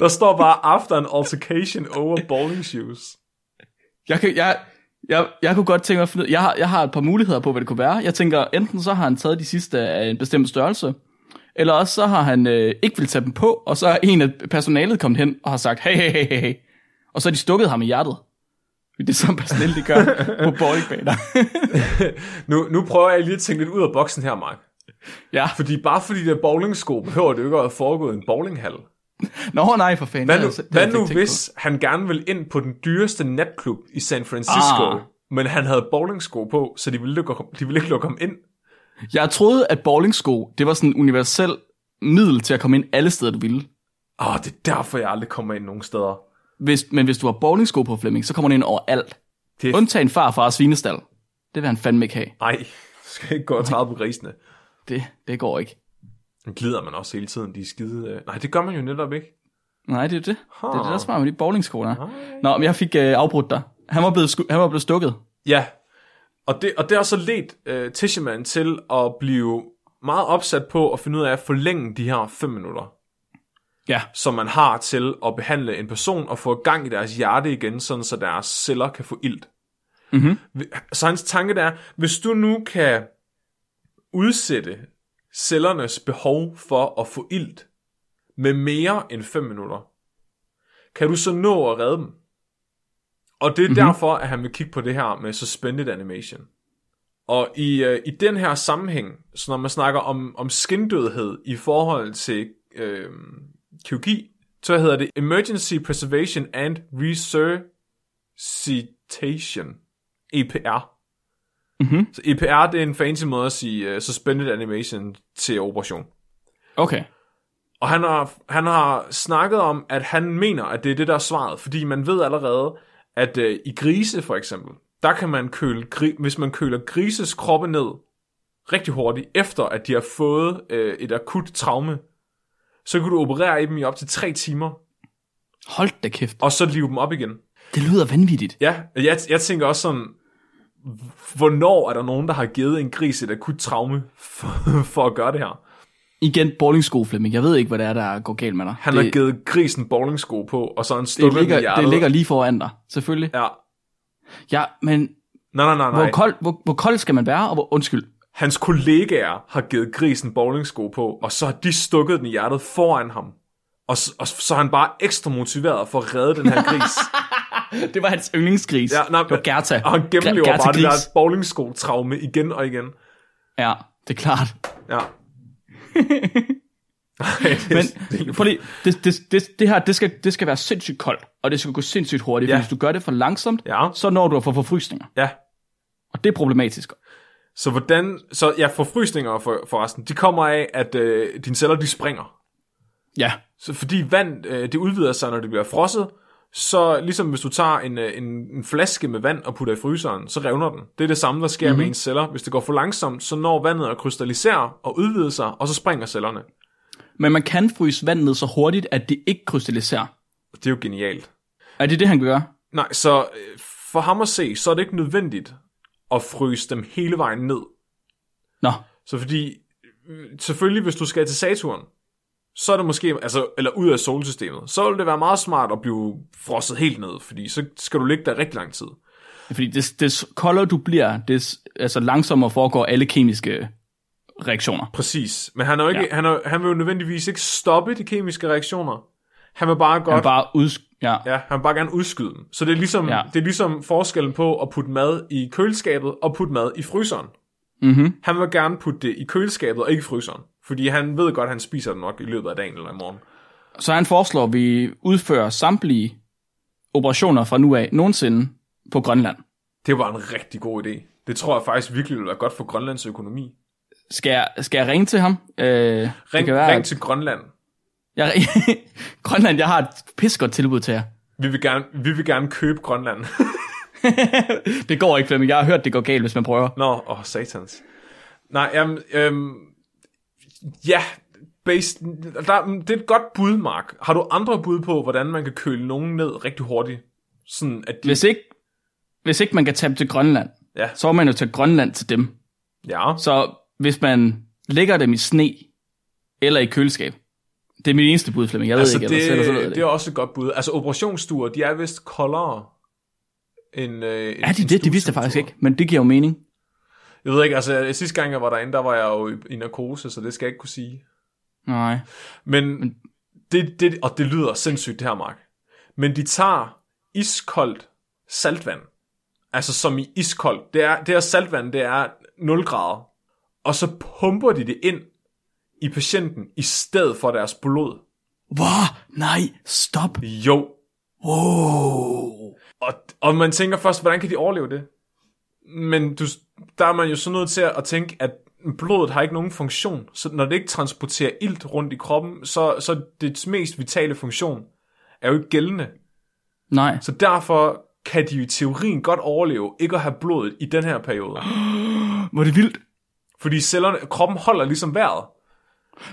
Speaker 3: Der står bare, after an altercation over bowling shoes.
Speaker 4: Jeg, kan, jeg, jeg, jeg kunne godt tænke mig at finde ud- jeg har, jeg har et par muligheder på, hvad det kunne være. Jeg tænker, enten så har han taget de sidste af en bestemt størrelse, eller også så har han øh, ikke vil tage dem på, og så er en af personalet kommet hen og har sagt, hey, hey, hey, hey, hey. Og så har de stukket ham i hjertet. Det er sådan personale, de gør på bowlingbaner.
Speaker 3: Nu, nu prøver jeg lige at tænke lidt ud af boksen her, Mark.
Speaker 4: Ja.
Speaker 3: Fordi bare fordi det er bowlingsko, behøver det jo ikke at have foregået i en bowlinghal.
Speaker 4: Nå, nej, for fanden.
Speaker 3: Hvad
Speaker 4: Det havde jeg-
Speaker 3: nu,
Speaker 4: altså, det havde
Speaker 3: hvad
Speaker 4: jeg slet ikke tænkt
Speaker 3: nu hvis han gerne ville ind på den dyreste natklub i San Francisco,
Speaker 4: Ah.
Speaker 3: ah. men han havde bowlingsko på, så de ville, lukke, ham- de ville ikke lukke ham ind?
Speaker 4: på. Jeg troede, at bowlingsko, det var sådan en universel middel til at komme ind alle steder, du ville.
Speaker 3: Ah, det er derfor, jeg aldrig kommer ind nogen steder.
Speaker 4: Hvis, men hvis du har bowlingsko på, Flemming, så kommer den ind overalt.
Speaker 3: Det-
Speaker 4: Undtagen far fra svinestal. Det vil han fandme ikke have.
Speaker 3: Nej, [laughs] du skal ikke gå og træde på grisene.
Speaker 4: Det, det går ikke.
Speaker 3: Den glider man også hele tiden, de er skide... øh, Nej, det gør man jo netop ikke.
Speaker 4: Nej, det er det. Det er det, der er smart med de bowlingsko, der.
Speaker 3: Nej.
Speaker 4: Nå, men jeg fik øh, afbrudt dig. Han var blevet, sku- han var blevet stukket.
Speaker 3: Ja, og det, og det har så ledt øh, Tishiman til at blive meget opsat på at finde ud af at forlænge de her 5 minutter,
Speaker 4: Ja.
Speaker 3: som man har til at behandle en person og få gang i deres hjerte igen, sådan så deres celler kan få ilt. Mm-hmm. Så hans tanke der er, hvis du nu kan udsætte cellernes behov for at få ilt med mere end 5 minutter, kan du så nå at redde dem? Og det er mm-hmm. derfor, at han vil kigge på det her med suspended animation. Og i, øh, i den her sammenhæng, så når man snakker om, om skindødhed i forhold til øh, kirurgi, så hedder det Emergency Preservation and Resuscitation, EPR. Mm-hmm. Så EPR, det er en fancy måde at sige uh, suspended animation til operation.
Speaker 4: Okay.
Speaker 3: Og han har, han har snakket om, at han mener, at det er det, der er svaret. Fordi man ved allerede, at øh, i grise for eksempel, der kan man køle, gri- hvis man køler grises kroppe ned rigtig hurtigt, efter at de har fået øh, et akut traume, så kan du operere i dem i op til 3 timer,
Speaker 4: Hold da kæft.
Speaker 3: og så live dem op igen.
Speaker 4: Det lyder vanvittigt.
Speaker 3: Ja, jeg, jeg tænker også sådan, hvornår er der nogen, der har givet en gris et akut traume for, for at gøre det her?
Speaker 4: Igen, bowlingsko, Flemming. Jeg ved ikke, hvad det er, der går galt med dig.
Speaker 3: Han det,
Speaker 4: det,
Speaker 3: har givet grisen bowlingsko på, og så har han
Speaker 4: det,
Speaker 3: stukket den i
Speaker 4: ligger,
Speaker 3: hjertet.
Speaker 4: det ligger lige foran dig, selvfølgelig.
Speaker 3: Ja,
Speaker 4: Ja, men
Speaker 3: Nej, nej, nej, nej.
Speaker 4: hvor kold, hvor, hvor kold skal man være, og hvor, undskyld, [laughs]
Speaker 3: Hans kollegaer har givet grisen bowlingsko på, og så har de stukket den i hjertet foran ham. Og, s- og s- så er han bare ekstra motiveret for at redde den
Speaker 4: [laughs]
Speaker 3: her gris.
Speaker 4: Det var hans yndlingsgris.
Speaker 3: Ja, nej,
Speaker 4: det var Gerta.
Speaker 3: og han gennemlever
Speaker 4: Gerta
Speaker 3: bare det
Speaker 4: gris.
Speaker 3: der bowlingsko-traume igen og igen.
Speaker 4: Ja, det er klart.
Speaker 3: Ja. Ej, det,
Speaker 4: Men
Speaker 3: er- det, er-
Speaker 4: prøv lige, det, det, det, det her, det skal, det skal være sindssygt koldt, og det skal gå sindssygt hurtigt,
Speaker 3: Ja.
Speaker 4: ja. hvis du gør det for langsomt,
Speaker 3: Ja.
Speaker 4: så når du at få forfrysninger.
Speaker 3: ja.
Speaker 4: Og det er problematisk.
Speaker 3: Så hvordan... Så ja, forfrysninger for, forresten, de kommer af, at øh, dine celler, de springer.
Speaker 4: Ja,
Speaker 3: Så fordi vand, øh, det udvider sig, når det bliver frosset, så ligesom hvis du tager en, øh, en, en flaske med vand og putter i fryseren, så revner den. Det er det samme, der sker mm-hmm. med ens celler. Hvis det går for langsomt, så når vandet at krystallisere og udvide sig, og så springer cellerne.
Speaker 4: men man kan fryse vand ned så hurtigt, at det ikke krystalliserer.
Speaker 3: Det er jo genialt.
Speaker 4: Er det det, han gør?
Speaker 3: Nej, så øh, for ham at se, så er det ikke nødvendigt at fryse dem hele vejen ned.
Speaker 4: Nå,
Speaker 3: Så fordi, øh, selvfølgelig hvis du skal til Saturn, så er det måske, altså, eller ud af solsystemet, så vil det være meget smart at blive frosset helt ned, fordi så skal du ligge der rigtig lang tid.
Speaker 4: fordi des, des koldere du bliver, des altså langsommere foregår alle kemiske reaktioner.
Speaker 3: Præcis, men han, er jo ikke, ja.
Speaker 4: Ja.
Speaker 3: han, er, han vil jo nødvendigvis ikke stoppe de kemiske reaktioner. Han vil bare godt,
Speaker 4: Man bare uds... Ja, ja.
Speaker 3: ja, han vil bare gerne udskyde dem. Så det er, ligesom, ja.
Speaker 4: Ja.
Speaker 3: det er ligesom forskellen på at putte mad i køleskabet og putte mad i fryseren.
Speaker 4: Mm-hmm.
Speaker 3: Han vil gerne putte det i køleskabet og ikke i fryseren, fordi han ved godt, at han spiser det nok i løbet af dagen eller i morgen.
Speaker 4: Så han foreslår, at vi udfører samtlige operationer fra nu af nogensinde på Grønland.
Speaker 3: Det var en rigtig god idé. Det tror jeg faktisk virkelig ville være godt for Grønlands økonomi.
Speaker 4: Skal jeg, skal jeg ringe til ham? Øh, ring, det
Speaker 3: Ring,
Speaker 4: kan være,
Speaker 3: ring
Speaker 4: at
Speaker 3: til Grønland.
Speaker 4: jeg, [laughs] Grønland, jeg har et pissegodt tilbud til jer. [laughs]
Speaker 3: Vi vil gerne, vi vil gerne købe Grønland. [laughs]
Speaker 4: Det går ikke, Flemming. Jeg har hørt, det går galt, hvis man prøver.
Speaker 3: Nå, åh, satans. Nej, jamen, øhm, ja, based, der, det er et godt bud, Mark. Har du andre bud på, hvordan man kan køle nogen ned rigtig hurtigt? Sådan at de,
Speaker 4: Hvis ikke, hvis ikke man kan tage dem til Grønland,
Speaker 3: Ja.
Speaker 4: så må man jo tage Grønland til dem.
Speaker 3: ja,
Speaker 4: Så hvis man lægger dem i sne eller i køleskab, det er mit eneste bud, Flemming. Jeg ved
Speaker 3: altså
Speaker 4: ikke, ellers, ellers, så ved jeg
Speaker 3: det,
Speaker 4: det,
Speaker 3: det er også et godt bud. Altså operationsstuer, de er vist koldere end, øh,
Speaker 4: er de det? Det vidste jeg faktisk ikke, men det giver jo mening.
Speaker 3: Jeg ved ikke, altså sidste gang jeg var derinde, der var jeg jo i, i narkose, så det skal jeg ikke kunne sige.
Speaker 4: Nej.
Speaker 3: Men det, det, og det lyder sindssygt, det her, Mark. Men de tager iskoldt saltvand. Altså som i iskoldt. Det er, det her saltvand, det er 0 grader. og så pumper de det ind i patienten i stedet for deres blod.
Speaker 4: Wow, nej, stop.
Speaker 3: Jo.
Speaker 4: Wow.
Speaker 3: Og, og man tænker først, hvordan kan de overleve det? Men du, der er man jo så nødt til at tænke, at blodet har ikke nogen funktion. Så når det ikke transporterer ilt rundt i kroppen, så, så dets mest vitale funktion er jo ikke gældende.
Speaker 4: Nej.
Speaker 3: Så derfor kan de jo i teorien godt overleve ikke at have blodet i den her periode.
Speaker 4: Var det vildt?
Speaker 3: Fordi cellerne, kroppen holder ligesom vejret.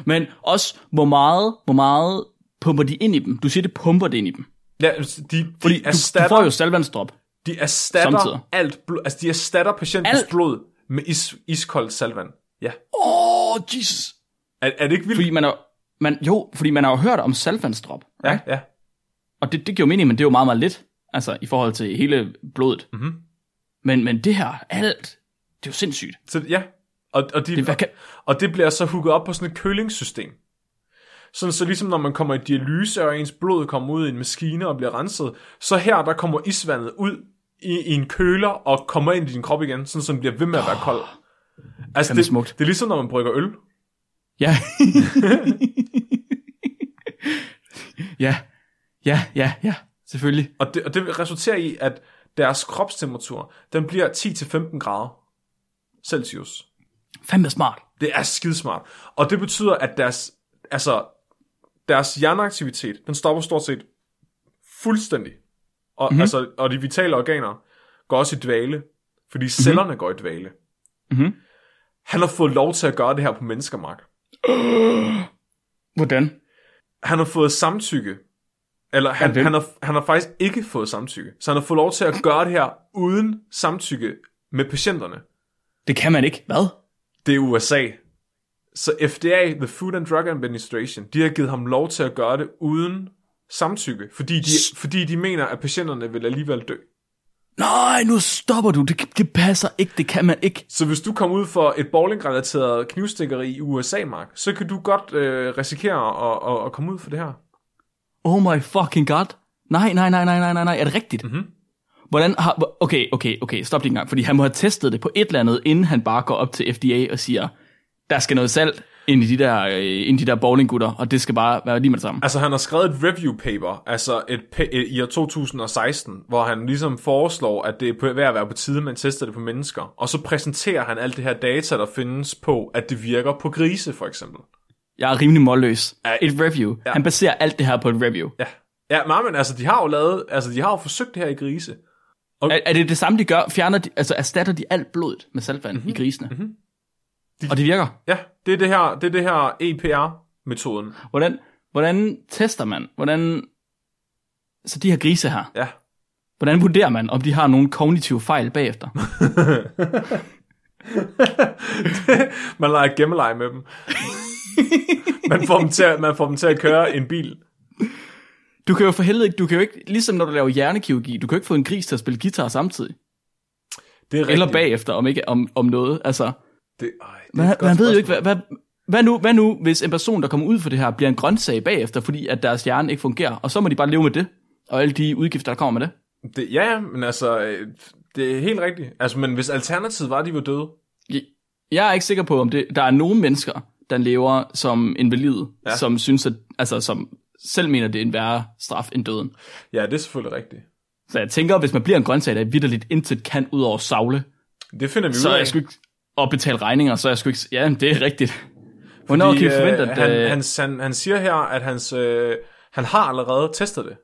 Speaker 4: Men også, hvor meget, hvor meget pumper de ind i dem? Du siger, det pumper det ind i dem.
Speaker 3: Ja, de, de
Speaker 4: Fordi du, du
Speaker 3: erstatter,
Speaker 4: får jo salvandsdrop.
Speaker 3: de erstatter
Speaker 4: Samtidig.
Speaker 3: alt blod, altså de erstatter patientens
Speaker 4: Alt?
Speaker 3: alt. blod med is, iskoldt salvand. Ja.
Speaker 4: Åh, oh, Jesus.
Speaker 3: Er, er det ikke vildt?
Speaker 4: Fordi man er, man, jo, fordi man har jo hørt om salvandsdrop.
Speaker 3: Ja, ja.
Speaker 4: Og det, det giver jo mening, men det er jo meget, meget lidt. Altså, i forhold til hele blodet. Mm-hmm. Men, men det her, alt, det er jo sindssygt.
Speaker 3: Så, ja. Og, og, de,
Speaker 4: Det, hvad kan,
Speaker 3: og det bliver så hooket op på sådan et kølingssystem. Sådan så ligesom når man kommer i dialyse, og ens blod kommer ud i en maskine og bliver renset, så her der kommer isvandet ud i, i en køler og kommer ind i din krop igen, sådan så den bliver ved med at være kold. Altså
Speaker 4: fandme
Speaker 3: det,
Speaker 4: smukt.
Speaker 3: det er ligesom når man brygger øl.
Speaker 4: [laughs] Ja. ja. Ja, ja, ja. Selvfølgelig.
Speaker 3: Og det, og det resulterer i, at deres kropstemperatur, den bliver 10-15 grader Celsius.
Speaker 4: Fandme smart.
Speaker 3: Det er skidesmart. Og det betyder, at deres, altså, deres hjerneaktivitet, den stopper stort set fuldstændig. Og, mm-hmm. altså, og de vitale organer går også i dvale, fordi cellerne mm-hmm. går i dvale.
Speaker 4: Mhm.
Speaker 3: Han har fået lov til at gøre det her på mennesker, Mark.
Speaker 4: Hvordan?
Speaker 3: Han har fået samtykke. Eller han,
Speaker 4: hvem?
Speaker 3: han, har, han har faktisk ikke fået samtykke. Så han har fået lov til at gøre det her uden samtykke med patienterne.
Speaker 4: Det kan man ikke. Hvad?
Speaker 3: Det er USA. Så FDA, The Food and Drug Administration, de har givet ham lov til at gøre det uden samtykke, fordi de, fordi de mener, at patienterne vil alligevel dø.
Speaker 4: Nej, nu stopper du. Det, det passer ikke. Det kan man ikke.
Speaker 3: Så hvis du kommer ud for et bowling-relateret knivstikkeri i USA, Mark, så kan du godt øh, risikere at, at, at komme ud for det her.
Speaker 4: Oh my fucking god. Nej, nej, nej, nej, nej, nej, nej. Er det rigtigt? Mm-hmm. Hvordan har... hvor- Okay, okay, okay. Stop lige en gang. Fordi han må have testet det på et eller andet, inden han bare går op til FDA og siger, der skal noget salt ind i de der, øh, ind i de der bowlinggutter, og det skal bare være lige med det samme.
Speaker 3: Altså, han har skrevet et review paper, altså et pa- i år 2016, hvor han ligesom foreslår, at det er på- ved at være på tide, man tester det på mennesker. Og så præsenterer han alt det her data, der findes på, at det virker på grise, for eksempel.
Speaker 4: Jeg er rimelig målløs. Et review. Han baserer alt det her på et review.
Speaker 3: Ja. Ja, nej, men altså, de har jo lavet, altså, de har jo forsøgt det her i grise.
Speaker 4: Er, er det det samme, de gør? Fjerner de, altså erstatter de alt blodet med saltvand mm-hmm. i grisene? Mm-hmm. Og det virker.
Speaker 3: Ja, det er det her, det er det her E EPR-metoden.
Speaker 4: Hvordan, hvordan tester man? Hvordan, så de her grise her,
Speaker 3: Ja. [laughs]
Speaker 4: hvordan vurderer man, om de har nogle kognitive fejl bagefter?
Speaker 3: Man leger gemmeleje med dem. [laughs] man, får dem til, at- man får dem til at køre en bil.
Speaker 4: Du kan jo for helvede ikke, du kan jo ikke, ligesom når du laver hjernekirurgi, du kan jo ikke få en gris til at spille guitar samtidig.
Speaker 3: Det er rigtigt.
Speaker 4: Eller bagefter, om ikke om, om noget. Altså,
Speaker 3: Det, øj, det er
Speaker 4: man,
Speaker 3: et godt
Speaker 4: man ved jo
Speaker 3: spørgsmål.
Speaker 4: ikke, hvad, hvad, hvad, nu, hvad nu, hvis en person, der kommer ud for det her, bliver en grøntsag bagefter, fordi at deres hjerne ikke fungerer, og så må de bare leve med det, og alle de udgifter, der kommer med det.
Speaker 3: Det, ja, ja, men altså, øh, det er helt rigtigt. Altså, men hvis alternativet var, at de var døde,
Speaker 4: Jeg er ikke sikker på, om det, der er nogen mennesker, der lever som invalide, ja.
Speaker 3: Ja.
Speaker 4: som synes, at, altså, som selv mener, det er en værre straf end døden.
Speaker 3: ja, det er selvfølgelig rigtigt.
Speaker 4: Så jeg tænker, hvis man bliver en grøntsag, der vidderligt intet kan ud over savle,
Speaker 3: Det finder vi
Speaker 4: så
Speaker 3: ud
Speaker 4: er
Speaker 3: af.
Speaker 4: jeg sgu ikke og betale regninger, så er jeg sgu ikke... Ja, det er rigtigt. Hvornår kan vi forvente, at...
Speaker 3: han,
Speaker 4: øh,
Speaker 3: han, han, han siger her, at hans, øh, han har allerede testet det.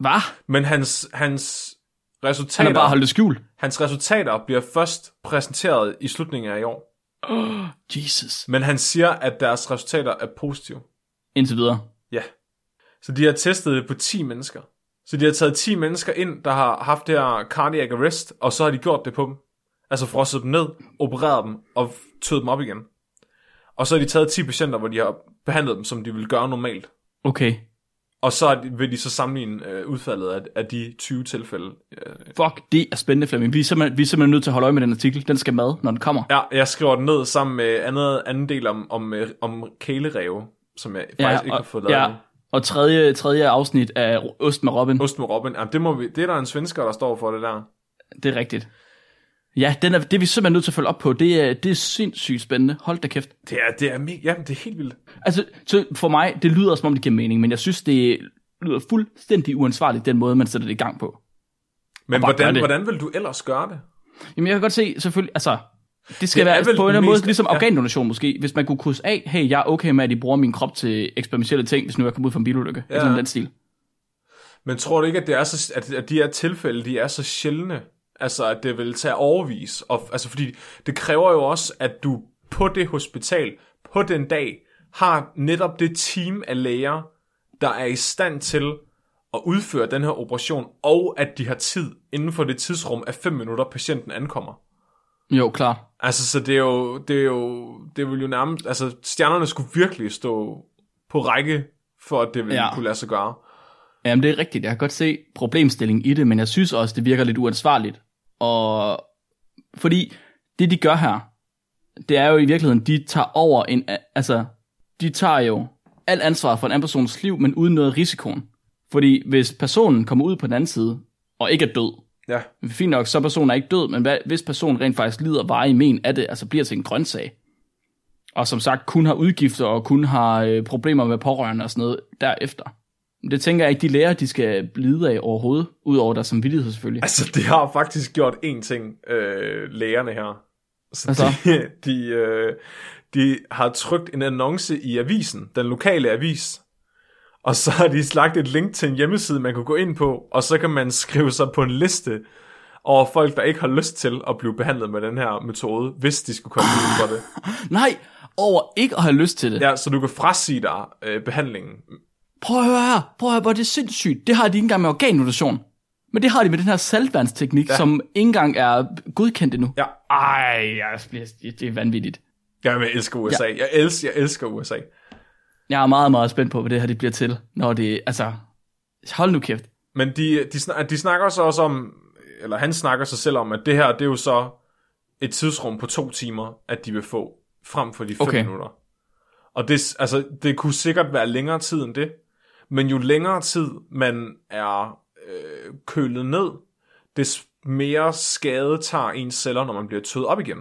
Speaker 4: Hvad?
Speaker 3: Men hans, hans,
Speaker 4: Han
Speaker 3: resultater,
Speaker 4: har bare holdt det skjult.
Speaker 3: hans resultater bliver først præsenteret i slutningen af i år.
Speaker 4: Jesus.
Speaker 3: Men han siger, at deres resultater er positive.
Speaker 4: Indtil videre.
Speaker 3: Ja. Så de har testet det på 10 mennesker. Så de har taget 10 mennesker ind, der har haft det her cardiac arrest, og så har de gjort det på dem. Altså frosset dem ned, opereret dem og tøet dem op igen. Og så har de taget 10 patienter, hvor de har behandlet dem, som de ville gøre normalt.
Speaker 4: Okay.
Speaker 3: Og så har de- vil de så sammenligne øh, udfaldet af, af de 20 tilfælde. Øh,
Speaker 4: Fuck, det er spændende, Flemming. Vi er, simpelthen, vi er simpelthen nødt til at holde øje med den artikel. Den skal med, når den kommer.
Speaker 3: Ja, jeg skriver den ned sammen med andet, anden del om, om, øh, om kælereve, som jeg faktisk ikke har fået lavet.
Speaker 4: ja,
Speaker 3: endnu.
Speaker 4: og tredje, tredje afsnit af Ost med Robin.
Speaker 3: Ost med Robin. Jamen, det, må vi, det er der en svensker, der står for det der.
Speaker 4: Det er rigtigt. Ja, den er, det er vi simpelthen nødt til at følge op på. Det er, det er sindssygt spændende. Hold da kæft.
Speaker 3: Det er, det er, mega, jamen, det er helt vildt.
Speaker 4: Altså, så for mig, det lyder som om det giver mening, men jeg synes, det lyder fuldstændig uansvarligt, den måde, man sætter det i gang på.
Speaker 3: Men
Speaker 4: bare gør
Speaker 3: hvordan,
Speaker 4: det.
Speaker 3: hvordan vil du ellers gøre det?
Speaker 4: Jamen, jeg kan godt se, selvfølgelig, altså, det skal
Speaker 3: Det
Speaker 4: det
Speaker 3: er
Speaker 4: være
Speaker 3: vel
Speaker 4: på en eller
Speaker 3: den
Speaker 4: anden måde,
Speaker 3: mest-
Speaker 4: ligesom
Speaker 3: ja.
Speaker 4: organdonation måske. Hvis man kunne krydse af, hey, jeg er okay med, at I bruger min krop til eksperimentelle ting, hvis nu jeg kommer ud fra en bilulykke. Ja. Sådan den stil.
Speaker 3: Men tror du ikke, at, det er så, at, at de her tilfælde, de er så sjældne? Altså, at det vil tage overvis. Og, altså, fordi det kræver jo også, at du på det hospital, på den dag, har netop det team af læger, der er i stand til at udføre den her operation, og at de har tid inden for det tidsrum af 5 minutter, patienten ankommer.
Speaker 4: Jo, klart.
Speaker 3: Altså, så det er jo, det er jo, det vil jo nærmest, altså, stjernerne skulle virkelig stå på række, for at det ville
Speaker 4: Ja.
Speaker 3: ja. kunne lade sig gøre.
Speaker 4: Jamen, det er rigtigt. Jeg kan godt se problemstillingen i det, men jeg synes også, det virker lidt uansvarligt. Og fordi det, de gør her, det er jo i virkeligheden, de tager over en... Altså, de tager jo alt ansvaret for en anden persons liv, men uden noget af risikoen. Fordi hvis personen kommer ud på den anden side, og ikke er død,
Speaker 3: Ja.
Speaker 4: fint nok, så er personen er ikke død, men hvad, hvis personen rent faktisk lider veje i men af det, altså bliver til en grøntsag, og som sagt kun har udgifter og kun har øh, problemer med pårørende og sådan noget derefter. Men Det tænker jeg ikke, de lærer, de skal lide af overhovedet, udover deres samvittighed selvfølgelig.
Speaker 3: Altså, det har faktisk gjort én ting, øh, lægerne her. Så
Speaker 4: Hvad så?
Speaker 3: de, [laughs] de, øh, de har trykt en annonce i avisen, den lokale avis, og så har de slagt et link til en hjemmeside, man kan gå ind på, og så kan man skrive sig på en liste over folk, der ikke har lyst til at blive behandlet med den her metode, hvis de skulle komme ud for det.
Speaker 4: Nej, over ikke at have lyst til det. Ja.
Speaker 3: Ja, så du kan frasige dig øh, behandlingen.
Speaker 4: Prøv at høre her, prøv at høre, hvor er det sindssygt. Det har de ikke engang med organdonation. Men det har de med den her saltvandsteknik, ja. som ikke engang er godkendt endnu.
Speaker 3: Ja.
Speaker 4: Ej, jeg bliver, det er vanvittigt.
Speaker 3: Jamen, jeg elsker USA. Ja. Jeg, elsker, jeg elsker USA.
Speaker 4: Jeg er meget, meget spændt på, hvad det her det bliver til, når det, altså, hold nu kæft.
Speaker 3: Men de, de, snak, de snakker så også om, eller han snakker sig selv om, at det her, det er jo så et tidsrum på to timer, at de vil få, frem for de fem
Speaker 4: Okay.
Speaker 3: okay. minutter. Og det, s- altså, det kunne sikkert være længere tid end det, men jo længere tid man er øh, kølet ned, des mere skade tager ens celler, når man bliver tødt op igen.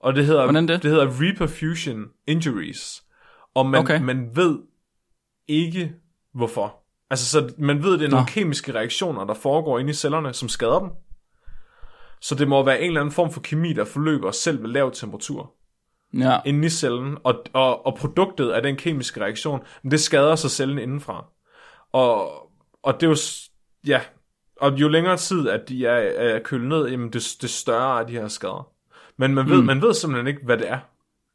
Speaker 3: Og det hedder,
Speaker 4: Hvordan det?
Speaker 3: det hedder reperfusion injuries. Og man,
Speaker 4: Okay.
Speaker 3: okay. man ved ikke, hvorfor. Altså, så man ved, det er nogle kemiske reaktioner, der foregår inde i cellerne, som skader dem. Så det må være en eller anden form for kemi, der forløber selv ved lav temperatur
Speaker 4: Ja.
Speaker 3: inde i cellen, og, og, og produktet af den kemiske reaktion, men det skader så cellen indenfra. Og, og det er jo, s- ja, og jo længere tid, at de er, er kølet ned, jamen det, det større er de her skader. Men man ved, mm. man ved simpelthen ikke, hvad det er.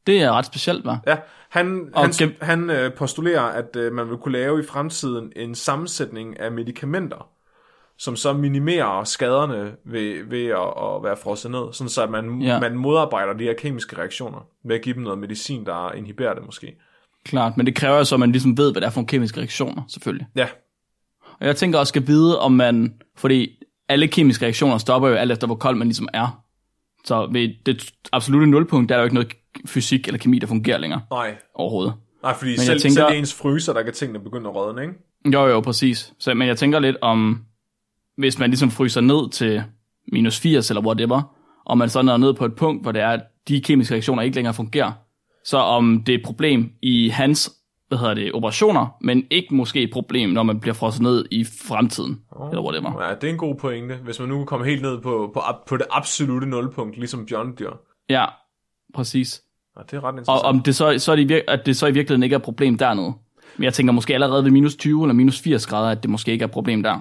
Speaker 4: Det er ret specielt, var.
Speaker 3: Ja, han,
Speaker 4: Og
Speaker 3: han,
Speaker 4: gem-
Speaker 3: han øh, postulerer, at øh, man vil kunne lave i fremtiden en sammensætning af medicamenter, som så minimerer skaderne ved, ved at, at være frosset ned, sådan så at man,
Speaker 4: Ja.
Speaker 3: ja. man modarbejder de her kemiske reaktioner ved at give dem noget medicin, der inhiberer det måske.
Speaker 4: Klart, men det kræver jo så, at man ligesom ved, hvad det er for nogle kemiske reaktioner, selvfølgelig.
Speaker 3: Ja,
Speaker 4: Og jeg tænker også, skal vide, om man, fordi alle kemiske reaktioner stopper jo alt efter, hvor kold man ligesom er. Så ved det absolutte nulpunkt, der er der jo ikke noget fysik eller kemi, der fungerer længere
Speaker 3: nej.
Speaker 4: overhovedet.
Speaker 3: Nej, fordi
Speaker 4: jeg
Speaker 3: selv,
Speaker 4: tænker-
Speaker 3: tænker... selv i ens fryser, der kan tingene begynde at rådne, ikke?
Speaker 4: Jo, jo, præcis. Så, men jeg tænker lidt om, hvis man ligesom fryser ned til minus 80 eller whatever, og man så når ned på et punkt, hvor det er, at de kemiske reaktioner ikke længere fungerer, så om det er et problem i hans hvad hedder det, operationer, men ikke måske et problem, når man bliver frosset ned i fremtiden, oh. eller whatever.
Speaker 3: Ja, det er en god pointe, hvis man nu kunne komme helt ned på, på, ab- på det absolute nulpunkt, ligesom Bjørn Dyr.
Speaker 4: Ja, præcis.
Speaker 3: Ja, det er ret
Speaker 4: Og
Speaker 3: interessant.
Speaker 4: om det så, så er det, i vir- at det så i virkeligheden ikke er et problem dernede. Men jeg tænker måske allerede ved minus 20 eller minus 80 grader, at det måske ikke er et problem der.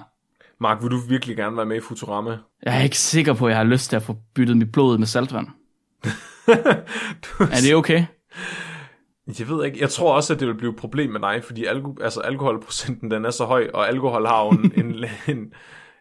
Speaker 3: Mark, vil du virkelig gerne være med i Futurama?
Speaker 4: Jeg er ikke sikker på, at jeg har lyst til at få byttet mit blod med saltvand.
Speaker 3: du
Speaker 4: Er det okay?
Speaker 3: Jeg ved ikke. Jeg tror også, at det vil blive et problem med dig, fordi alko- altså alkoholprocenten den er så høj, og alkohol har jo
Speaker 4: [laughs]
Speaker 3: en, en, en,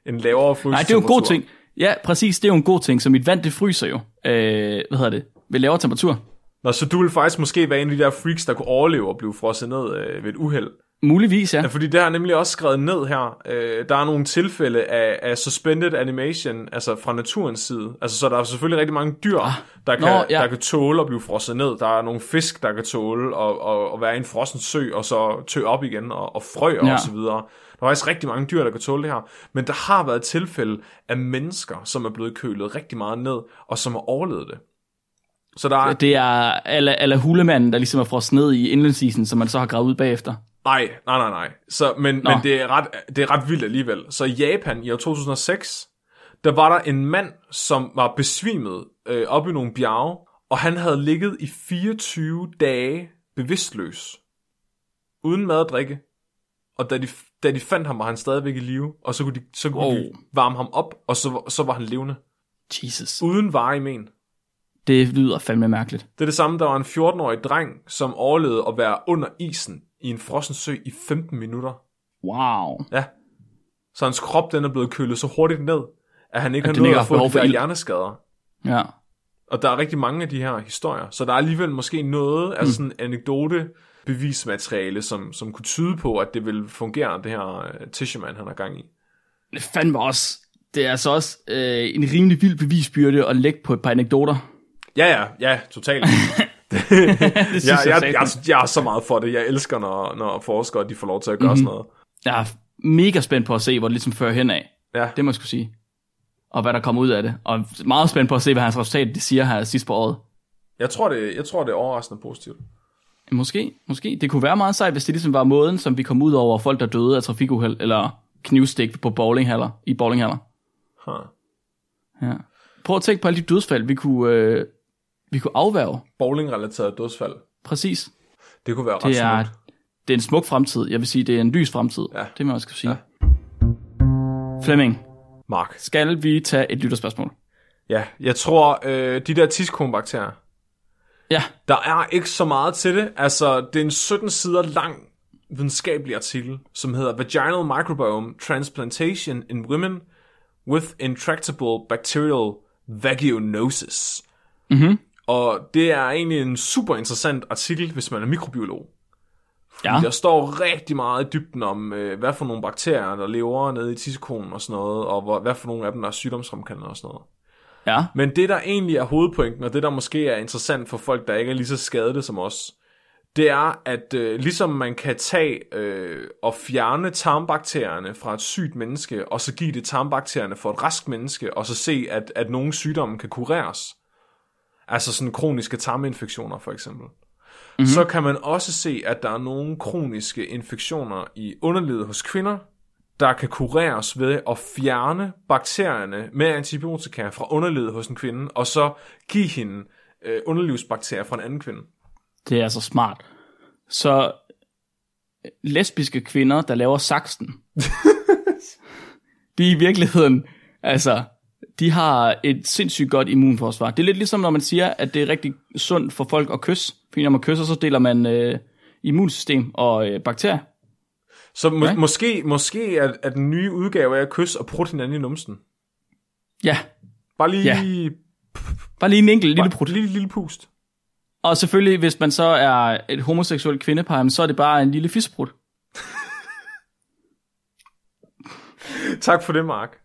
Speaker 3: en lavere frysning.
Speaker 4: Nej, det er jo en god ting. Ja, præcis, det er jo en god ting, så mit vand det fryser jo. Øh, hvad hedder det? Ved lavere temperatur.
Speaker 3: Nå, så du vil faktisk måske være en af de der freaks, der kunne overleve og blive frosset ned øh, ved et uheld.
Speaker 4: Muligvis, ja.
Speaker 3: Ja, fordi det har jeg nemlig også skrevet ned her. Øh, der er nogle tilfælde af, af suspended animation, altså fra naturens side. Altså, så der er selvfølgelig rigtig mange dyr, ah, der, kan,
Speaker 4: nå, ja.
Speaker 3: der kan tåle at blive frosset ned. Der er nogle fisk, der kan tåle at, at, at være i en frossen sø, og så tø op igen, og, og frøer ja.
Speaker 4: Ja.
Speaker 3: og så videre. Der er faktisk rigtig mange dyr, der kan tåle det her. Men der har været tilfælde af mennesker, som er blevet kølet rigtig meget ned, og som har overlevet det. Så der er,
Speaker 4: Det er ala, ala hulemanden, der ligesom er frosset ned i indlandsisen, som man så har gravet ud bagefter.
Speaker 3: Nej, nej, nej, nej. Så, men men det, er ret, det er ret vildt alligevel. Så i Japan i år 2006, der var der en mand, som var besvimet øh, op i nogle bjerge, og han havde ligget i 24 dage bevidstløs, uden mad og drikke. Og da de, da de fandt ham, var han stadigvæk i live, og så kunne de, så kunne wow. de varme ham op, og så, så var han levende.
Speaker 4: Jesus.
Speaker 3: Uden varig men.
Speaker 4: Det lyder fandme mærkeligt.
Speaker 3: Det er det samme, der var en 14-årig dreng, som overlevede at være under isen i en frossen sø i 15 minutter.
Speaker 4: Wow.
Speaker 3: Ja. Så hans krop, den er blevet kølet så hurtigt ned, at han ikke
Speaker 4: At
Speaker 3: har
Speaker 4: den
Speaker 3: nået
Speaker 4: ikke
Speaker 3: at
Speaker 4: har
Speaker 3: få
Speaker 4: behov
Speaker 3: de
Speaker 4: for
Speaker 3: der
Speaker 4: ild.
Speaker 3: hjerneskader.
Speaker 4: Ja.
Speaker 3: Og der er rigtig mange af de her historier. Så der er alligevel måske noget
Speaker 4: Mm.
Speaker 3: af sådan anekdote bevismateriale, som, som kunne tyde på, at det vil fungere, det her øh, Tisherman, han har gang i.
Speaker 4: Det er fandme også. Det er altså også øh, en rimelig vild bevisbyrde at lægge på et par anekdoter.
Speaker 3: Ja, ja, ja,
Speaker 4: [laughs]
Speaker 3: totalt.
Speaker 4: Det
Speaker 3: jeg,
Speaker 4: synes
Speaker 3: jeg,
Speaker 4: jeg,
Speaker 3: jeg, jeg, jeg er så meget for det. Jeg elsker, når, når forskere de får lov til at gøre mm-hmm.
Speaker 4: Mhm.
Speaker 3: sådan noget.
Speaker 4: jeg er mega spændt på at se, hvor det ligesom fører hen af.
Speaker 3: Ja.
Speaker 4: Det må jeg skulle sige. Og hvad der kommer ud af det. Og meget spændt på at se, hvad hans resultat det siger her sidst på året.
Speaker 3: Jeg, tror, det, jeg tror, det er overraskende positivt.
Speaker 4: Måske, måske. Det kunne være meget sejt, hvis det ligesom var måden, som vi kom ud over folk, der døde af trafikuheld eller knivstik på bowlinghaller, i bowlinghaller.
Speaker 3: Huh.
Speaker 4: Ja. Prøv at tænke på alle de dødsfald, vi kunne, øh, vi kunne afværge.
Speaker 3: Bowling-relateret dødsfald.
Speaker 4: Præcis.
Speaker 3: Det kunne være ret
Speaker 4: Det er,
Speaker 3: smukt.
Speaker 4: det er en smuk fremtid. Jeg vil sige, det er en lys fremtid.
Speaker 3: Ja.
Speaker 4: Det må jeg også sige. Ja. Flemming,
Speaker 3: Mark.
Speaker 4: skal vi tage et lytterspørgsmål?
Speaker 3: Ja, jeg tror, øh, de der tiskombakterier,
Speaker 4: Ja,
Speaker 3: Der er ikke så meget til det. Altså, det er en 17 sider lang videnskabelig artikel, som hedder Vaginal Microbiome Transplantation in Women with Intractable Bacterial Vaginosis. Mm-hmm. Og det er egentlig en super interessant artikel, hvis man er mikrobiolog. Fordi
Speaker 4: Ja.
Speaker 3: der står rigtig meget i dybden om, øh, hvad for nogle bakterier, der lever nede i tissekonen og sådan noget, og hvor, hvad for nogle af dem, der er sygdomsfremkaldende og sådan noget.
Speaker 4: ja.
Speaker 3: Men det, der egentlig er hovedpointen, og det, der måske er interessant for folk, der ikke er lige så skadede som os, det er, at øh, ligesom man kan tage øh, og fjerne tarmbakterierne fra et sygt menneske, og så give det tarmbakterierne for et rask menneske, og så se, at, at nogle sygdomme kan kureres. Altså sådan kroniske tarminfektioner for eksempel. Mm-hmm. Så kan man også se, at der er nogle kroniske infektioner i underlivet hos kvinder, der kan kureres ved at fjerne bakterierne med antibiotika fra underlivet hos en kvinde, og så give hende øh, underlivsbakterier fra en anden kvinde.
Speaker 4: Det er altså smart. Så øh, lesbiske kvinder, der laver [laughs] saksen, de er i virkeligheden, altså, de har et sindssygt godt immunforsvar. Det er lidt ligesom, når man siger, at det er rigtig sundt for folk at kysse. Fordi når man kysser, så deler man øh, immunsystem og øh, bakterier.
Speaker 3: Så må-
Speaker 4: Ja.
Speaker 3: måske, måske er, er den nye udgave af at kysse og prutte hinanden i numsen.
Speaker 4: Ja,
Speaker 3: Bare lige,
Speaker 4: Ja.
Speaker 3: ja.
Speaker 4: bare lige en enkelt lille
Speaker 3: bare, lille, lille pust.
Speaker 4: Og selvfølgelig, hvis man så er et homoseksuelt kvindepar, jamen, så er det bare en lille fisbrud.
Speaker 3: Tak for det, Mark.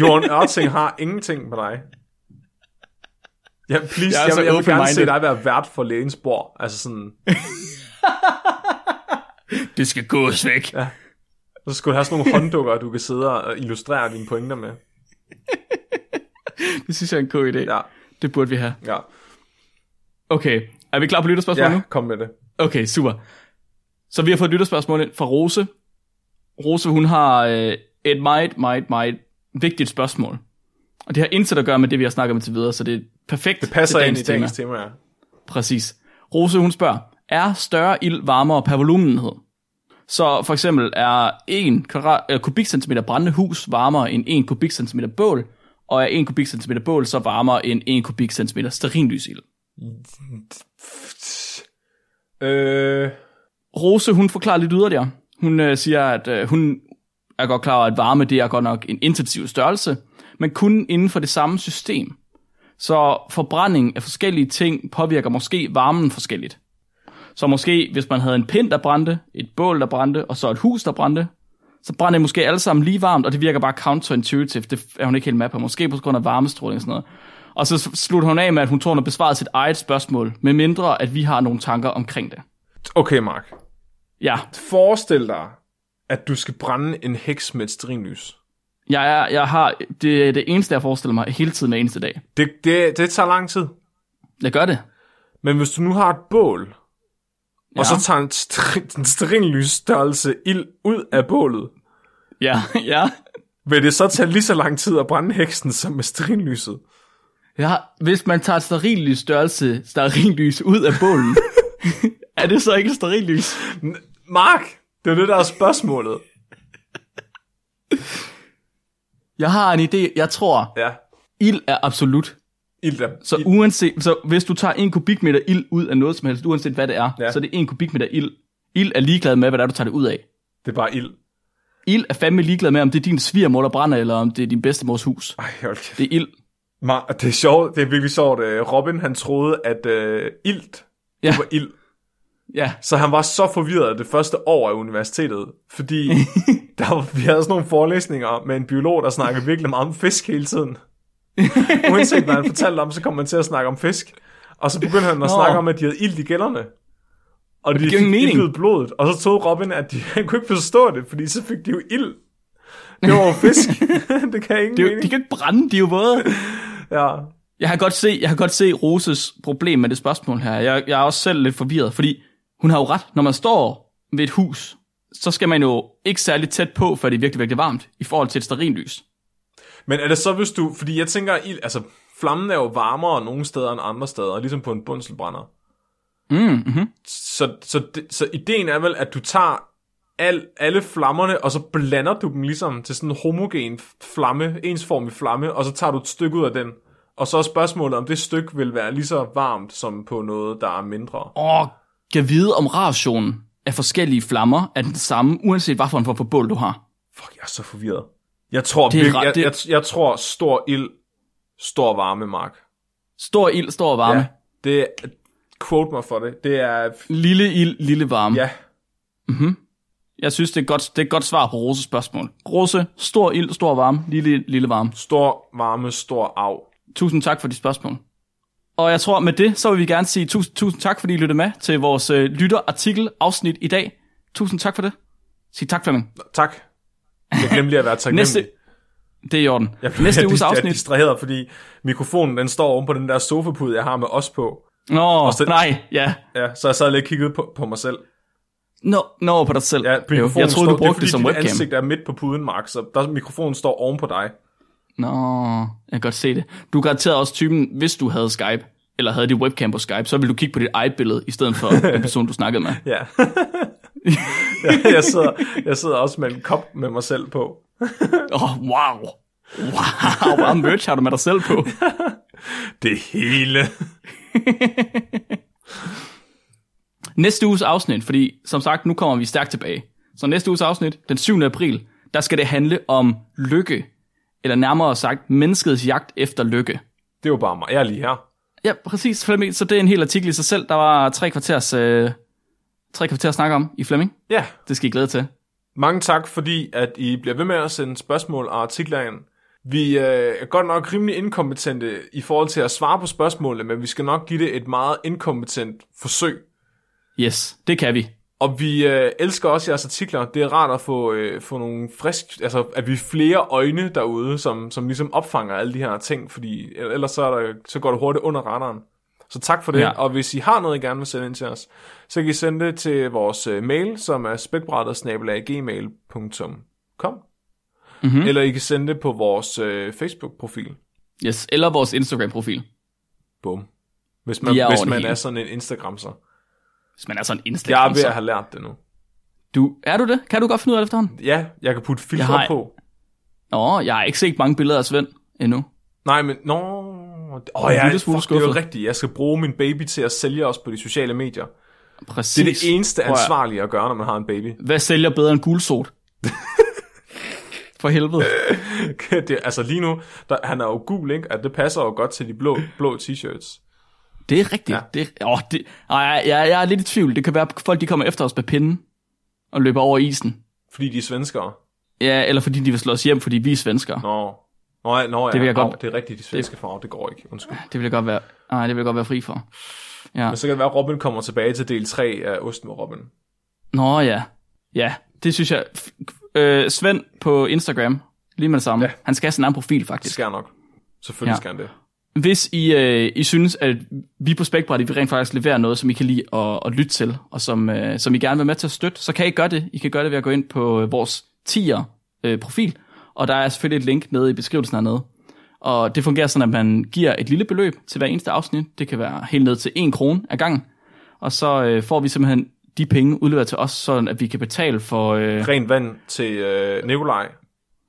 Speaker 3: Jørgen Ørting har ingenting med dig. Ja, please,
Speaker 4: Jeg
Speaker 3: jeg,
Speaker 4: er
Speaker 3: jeg,
Speaker 4: så
Speaker 3: jeg, jeg vil gerne se
Speaker 4: open-minded.
Speaker 3: dig være vært for lægens bord. Altså sådan,
Speaker 4: Det skal gås væk. Ja.
Speaker 3: så skulle du have
Speaker 4: [laughs]
Speaker 3: sådan nogle hånddukker, du kan sidde og illustrere dine pointer med.
Speaker 4: Det synes jeg er en god idé. Ja.
Speaker 3: Ja,
Speaker 4: Det burde vi have.
Speaker 3: ja.
Speaker 4: Okay, er vi klar på lytterspørgsmål nu?
Speaker 3: Ja, kom med det.
Speaker 4: Okay, super. Så vi har fået et lytterspørgsmål ind fra Rose. Rose, hun har øh, et meget, meget, meget vigtigt spørgsmål. Og det har intet at gøre med det, vi har snakket om indtil videre, så det er perfekt det
Speaker 3: Passer ind i dagens tema, ja.
Speaker 4: Præcis. Rose, hun spørger, er større ild varmere per volumenenhed? Så for eksempel er 1 kvadrat, øh, kubikcentimeter brændende hus varmere end 1 kubikcentimeter bål, og er 1 kubikcentimeter bål så varmere end 1 kubikcentimeter sterinlysild.
Speaker 3: Øh,
Speaker 4: Rose, hun forklarer lidt yderligere. Hun øh, siger, at øh, hun er godt klar over, at varme det er godt nok en intensiv størrelse, men kun inden for det samme system. Så forbrænding af forskellige ting påvirker måske varmen forskelligt. Så måske, hvis man havde en pind, der brændte, et bål, der brændte, og så et hus, der brændte, så brænder de måske alle sammen lige varmt, og det virker bare counterintuitive. Det er hun ikke helt med på. Måske på grund af varmestråling og sådan noget. Og så slutter hun af med, at hun tror, hun har besvaret sit eget spørgsmål, med mindre at vi har nogle tanker omkring det.
Speaker 3: Okay, Mark.
Speaker 4: Ja,
Speaker 3: Forestil dig, at du skal brænde en heks med et stringlys.
Speaker 4: jeg, er, jeg har, det er det eneste, jeg forestiller mig hele tiden hver eneste dag.
Speaker 3: Det, det, det tager lang tid.
Speaker 4: Jeg gør det.
Speaker 3: Men hvis du nu har et bål, ja. og så tager en, string, en stringlysstørrelse ild ud af bålet,
Speaker 4: Ja, [laughs] ja.
Speaker 3: vil det så tage lige så lang tid at brænde heksen som med stringlyset?
Speaker 4: ja. Hvis man tager et sterillys størrelse, sterillys ud af bålen, [laughs] er det så ikke et sterillys?
Speaker 3: Mark, det er det, der er spørgsmålet.
Speaker 4: Jeg har en idé. Jeg tror,
Speaker 3: Ja,
Speaker 4: ild er absolut.
Speaker 3: ild er...
Speaker 4: Så uanset, så hvis du tager en kubikmeter ild ud af noget som helst, uanset hvad det er,
Speaker 3: Ja.
Speaker 4: ja. så er det en kubikmeter ild. Ild er ligeglad med, hvad det er, du tager det ud af.
Speaker 3: Det er bare ild.
Speaker 4: Ild er fandme ligeglad med, om det er din svigermor, der brænder, eller om det er din bedstemors hus.
Speaker 3: Ej, hold kæft.
Speaker 4: Det er ild.
Speaker 3: Mar- det er sjovt, det er virkelig sjovt. Øh, Robin, han troede, at øh, ilt, ja.
Speaker 4: Ja.
Speaker 3: det var ild.
Speaker 4: Ja,
Speaker 3: Så han var så forvirret det første år af universitetet,
Speaker 4: [laughs]
Speaker 3: fordi der var, vi havde sådan nogle forelæsninger med en biolog, der snakkede virkelig meget om fisk hele tiden. Uanset hvad han fortalte om, så kom man til at snakke om fisk. Og så begyndte han at Nå. snakke om, at de havde ild i gælderne. Og de
Speaker 4: giver
Speaker 3: fik
Speaker 4: ingen mening.
Speaker 3: iltet blodet. Og så troede Robin, at de, han kunne ikke forstå det, fordi så fik de jo ild. Det var jo
Speaker 4: [laughs]
Speaker 3: fisk. det kan ingen
Speaker 4: det er jo,
Speaker 3: mening.
Speaker 4: de kan ikke brænde, de er jo våde.
Speaker 3: Ja.
Speaker 4: Jeg har godt se, jeg har godt se Roses problem med det spørgsmål her. Jeg, jeg er også selv lidt forvirret, fordi hun har jo ret. Når man står ved et hus, så skal man jo ikke særlig tæt på, før det er virkelig, virkelig varmt, i forhold til et sterinlys.
Speaker 3: Men er det så, hvis du... Fordi jeg tænker, at ild, altså, flammen er jo varmere nogle steder end andre steder, ligesom på en bundselbrænder.
Speaker 4: Mm, mm-hmm.
Speaker 3: Så, så, det, så ideen er vel, at du tager al, alle flammerne, og så blander du dem ligesom til sådan en homogen flamme, ensformig flamme, og så tager du et stykke ud af den. Og så er spørgsmålet, om det stykke vil være lige så varmt som på noget, der er mindre.
Speaker 4: Og kan vide, om rationen af forskellige flammer er den samme, uanset hvad for en form for bål du har.
Speaker 3: Fuck, jeg er så forvirret. Jeg tror,
Speaker 4: Det er
Speaker 3: virkelig,
Speaker 4: ret-
Speaker 3: jeg,
Speaker 4: det-
Speaker 3: jeg, jeg tror stor ild, stor varme, Mark.
Speaker 4: Stor ild, stor varme.
Speaker 3: Ja,
Speaker 4: Ja.
Speaker 3: det er, quote mig for det. Det er,
Speaker 4: Lille ild, lille varme.
Speaker 3: ja,
Speaker 4: Jeg synes, det er, et godt, det er et godt svar på Roses spørgsmål. Rose, stor ild, stor varme, lille, lille varme.
Speaker 3: stor varme, stor af.
Speaker 4: Tusind tak for de spørgsmål. Og jeg tror, med det, så vil vi gerne sige tusind, tusind tak, fordi I lyttede med til vores øh, lytterartikel afsnit i dag. Tusind tak for det. Sig tak, Flemming.
Speaker 3: Tak. Jeg glemte lige at være taknemmelig.
Speaker 4: Næste, det er i orden.
Speaker 3: [laughs] Jeg blev
Speaker 4: Næste uges
Speaker 3: jeg, Jeg er
Speaker 4: afsnit.
Speaker 3: distraheret, fordi mikrofonen den står oven på den der sofapude, jeg har med os på.
Speaker 4: Nå,
Speaker 3: så-
Speaker 4: nej, ja.
Speaker 3: Ja, så jeg sad lidt og kiggede på, på mig selv.
Speaker 4: Nå, nå på dig selv.
Speaker 3: Ja,
Speaker 4: jo,
Speaker 3: mikrofonen
Speaker 4: jeg troede,
Speaker 3: står,
Speaker 4: du brugte det,
Speaker 3: det, er,
Speaker 4: som
Speaker 3: fordi dit
Speaker 4: webcam.
Speaker 3: ansigt er midt på puden, Mark, så der, mikrofonen står oven på dig.
Speaker 4: Nå, jeg kan godt se det. Du er garanteret også typen, hvis du havde Skype, eller havde dit webcam på Skype, så ville du kigge på dit eget billede, i
Speaker 3: [laughs]
Speaker 4: stedet for den person, du snakkede med. [laughs]
Speaker 3: Ja. ja jeg, sidder, jeg sidder også med en kop med mig selv på.
Speaker 4: Åh, oh, wow. Wow, [laughs] hvor meget merch har du med dig selv på?
Speaker 3: Det hele.
Speaker 4: Næste uges afsnit, fordi som sagt, nu kommer vi stærkt tilbage. Så næste uges afsnit, den 7. april, der skal det handle om lykke. Eller nærmere sagt, menneskets jagt efter lykke.
Speaker 3: Det er jo bare mig. Jeg er lige her.
Speaker 4: Ja, præcis, Flemming. Så det er en hel artikel i sig selv. Der var tre kvarters, øh, tre kvarter at snakke om i Flemming.
Speaker 3: Ja,
Speaker 4: Det skal I glæde til.
Speaker 3: mange tak, fordi at I bliver ved med at sende spørgsmål og artikler ind. Vi øh, er godt nok rimelig inkompetente i forhold til at svare på spørgsmålene, men vi skal nok give det et meget inkompetent forsøg.
Speaker 4: Yes, det kan vi.
Speaker 3: Og vi øh, elsker også jeres artikler. Det er rart at få, øh, få nogle frisk... Altså, at vi er flere øjne derude, som, som ligesom opfanger alle de her ting, fordi ellers så, er der, så går det hurtigt under radaren. Så tak for det, ja.
Speaker 4: Ja.
Speaker 3: og hvis I har noget, I gerne vil sende ind til os, så kan I sende det til vores øh, mail, som er spækbrættersnabelag.gmail.com
Speaker 4: Mhm.
Speaker 3: mm-hmm. Eller I kan sende det på vores øh, Facebook-profil.
Speaker 4: Yes, eller vores Instagram-profil.
Speaker 3: Bum. Hvis man,
Speaker 4: Vi er
Speaker 3: hvis
Speaker 4: over det
Speaker 3: man
Speaker 4: hele.
Speaker 3: er sådan en instagram så.
Speaker 4: Hvis man er altså- sådan en
Speaker 3: Jeg
Speaker 4: Instagram.
Speaker 3: er ved at
Speaker 4: så-
Speaker 3: have lært det nu.
Speaker 4: Du, er du det? Kan du godt finde ud af det efterhånden?
Speaker 3: Ja, jeg kan putte filtre
Speaker 4: Jeg har-
Speaker 3: på.
Speaker 4: Nå, jeg har ikke set mange billeder af Svend endnu.
Speaker 3: Nej, men... Nå... Åh oh,
Speaker 4: er en
Speaker 3: ja,
Speaker 4: lille smule
Speaker 3: fuck, det er jo
Speaker 4: skuffet.
Speaker 3: rigtigt. Jeg skal bruge min baby til at sælge os på de sociale medier.
Speaker 4: Præcis.
Speaker 3: Det er det eneste
Speaker 4: Prøv at-
Speaker 3: ansvarlige at gøre, når man har en baby. [laughs]
Speaker 4: Hvad sælger bedre end gulsot? For helvede.
Speaker 3: det, altså lige nu, der, han er jo gul, ikke? Og det passer jo godt til de blå, blå t-shirts.
Speaker 4: Det er rigtigt. Ja. Det, er, åh, det, ej, jeg, jeg er lidt i tvivl. Det kan være, at folk de kommer efter os med pinden og løber over isen.
Speaker 3: Fordi de er svenskere.
Speaker 4: Ja, eller fordi de vil slå os hjem, fordi vi er svenskere.
Speaker 3: Nå, nå, ja, nå ja.
Speaker 4: Det vil jeg
Speaker 3: Au,
Speaker 4: godt-
Speaker 3: det er rigtigt, de svenske farver, det går ikke. Undskyld.
Speaker 4: Det vil jeg godt være, nej, det vil jeg godt være fri for.
Speaker 3: Men så kan det være, at Robin kommer tilbage til del 3 af Osten med Robin.
Speaker 4: Nå ja. Ja, det synes jeg. F- Øh, Svend på Instagram, lige med det samme. Ja. Han skal have sin egen profil,
Speaker 3: Det
Speaker 4: faktisk.
Speaker 3: skal han nok. Selvfølgelig
Speaker 4: Ja.
Speaker 3: ja. skal han det.
Speaker 4: Hvis I, øh, I synes, at vi på Spækbrættet, vi rent faktisk leverer noget, som I kan lide at, at lytte til, og som, øh, som I gerne vil være med til at støtte, så kan I gøre det. I kan gøre det ved at gå ind på øh, vores 10'er øh, profil, og der er selvfølgelig et link nede i beskrivelsen hernede. Og det fungerer sådan, at man giver et lille beløb til hver eneste afsnit. Det kan være helt ned til 1 krone ad gangen. Og så øh, får vi simpelthen de penge udleveret til os, sådan at vi kan betale for... Øh,
Speaker 3: Rent vand til øh, Nikolaj.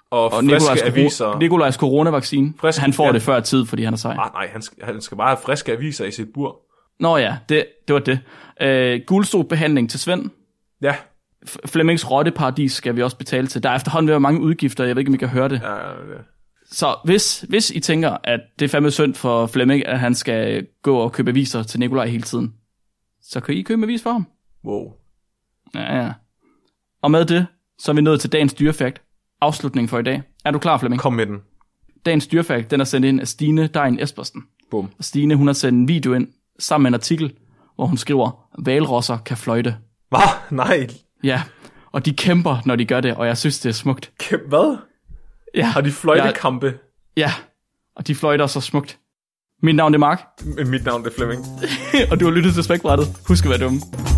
Speaker 3: Og, og
Speaker 4: og
Speaker 3: friske
Speaker 4: Nikolajs,
Speaker 3: aviser.
Speaker 4: coro- Nikolajs coronavaccine.
Speaker 3: Friske-
Speaker 4: han får
Speaker 3: ja.
Speaker 4: det før tid, fordi han er sej.
Speaker 3: Ah, nej, han skal, han skal bare have friske aviser i sit bur.
Speaker 4: Nå ja, det, det var det. Øh, Gulstolbehandling til Svend.
Speaker 3: Ja,
Speaker 4: F- Flemmings Rotteparadis skal vi også betale til. Der er efterhånden ved at være mange udgifter, jeg ved ikke, om I kan høre det. Ja.
Speaker 3: øh,
Speaker 4: Så hvis, hvis I tænker, at det er fandme synd for Flemming, at han skal gå og købe aviser til Nikolaj hele tiden, så kan I købe en avis for ham.
Speaker 3: wow.
Speaker 4: Ja, ja. Og med det, så er vi nået til dagens dyrefakt. Afslutning for i dag. Er du klar, Flemming?
Speaker 3: Kom med den.
Speaker 4: Dagens dyrefakt, den er sendt ind af Stine Dein Espersen.
Speaker 3: Bum.
Speaker 4: Og Stine, hun har sendt en video ind sammen med en artikel, hvor hun skriver, valrosser kan fløjte.
Speaker 3: Hvad? [laughs] Nej.
Speaker 4: Ja, og de kæmper, når de gør det, og jeg synes, det er smukt.
Speaker 3: Kæm, hvad?
Speaker 4: Ja,
Speaker 3: Har de fløjtekampe?
Speaker 4: Ja, og de fløjter så smukt. Mit navn er Mark, [laughs]
Speaker 3: Mit navn er Flemming.
Speaker 4: og du har lyttet til Spækbrættet. Husk at være dumme.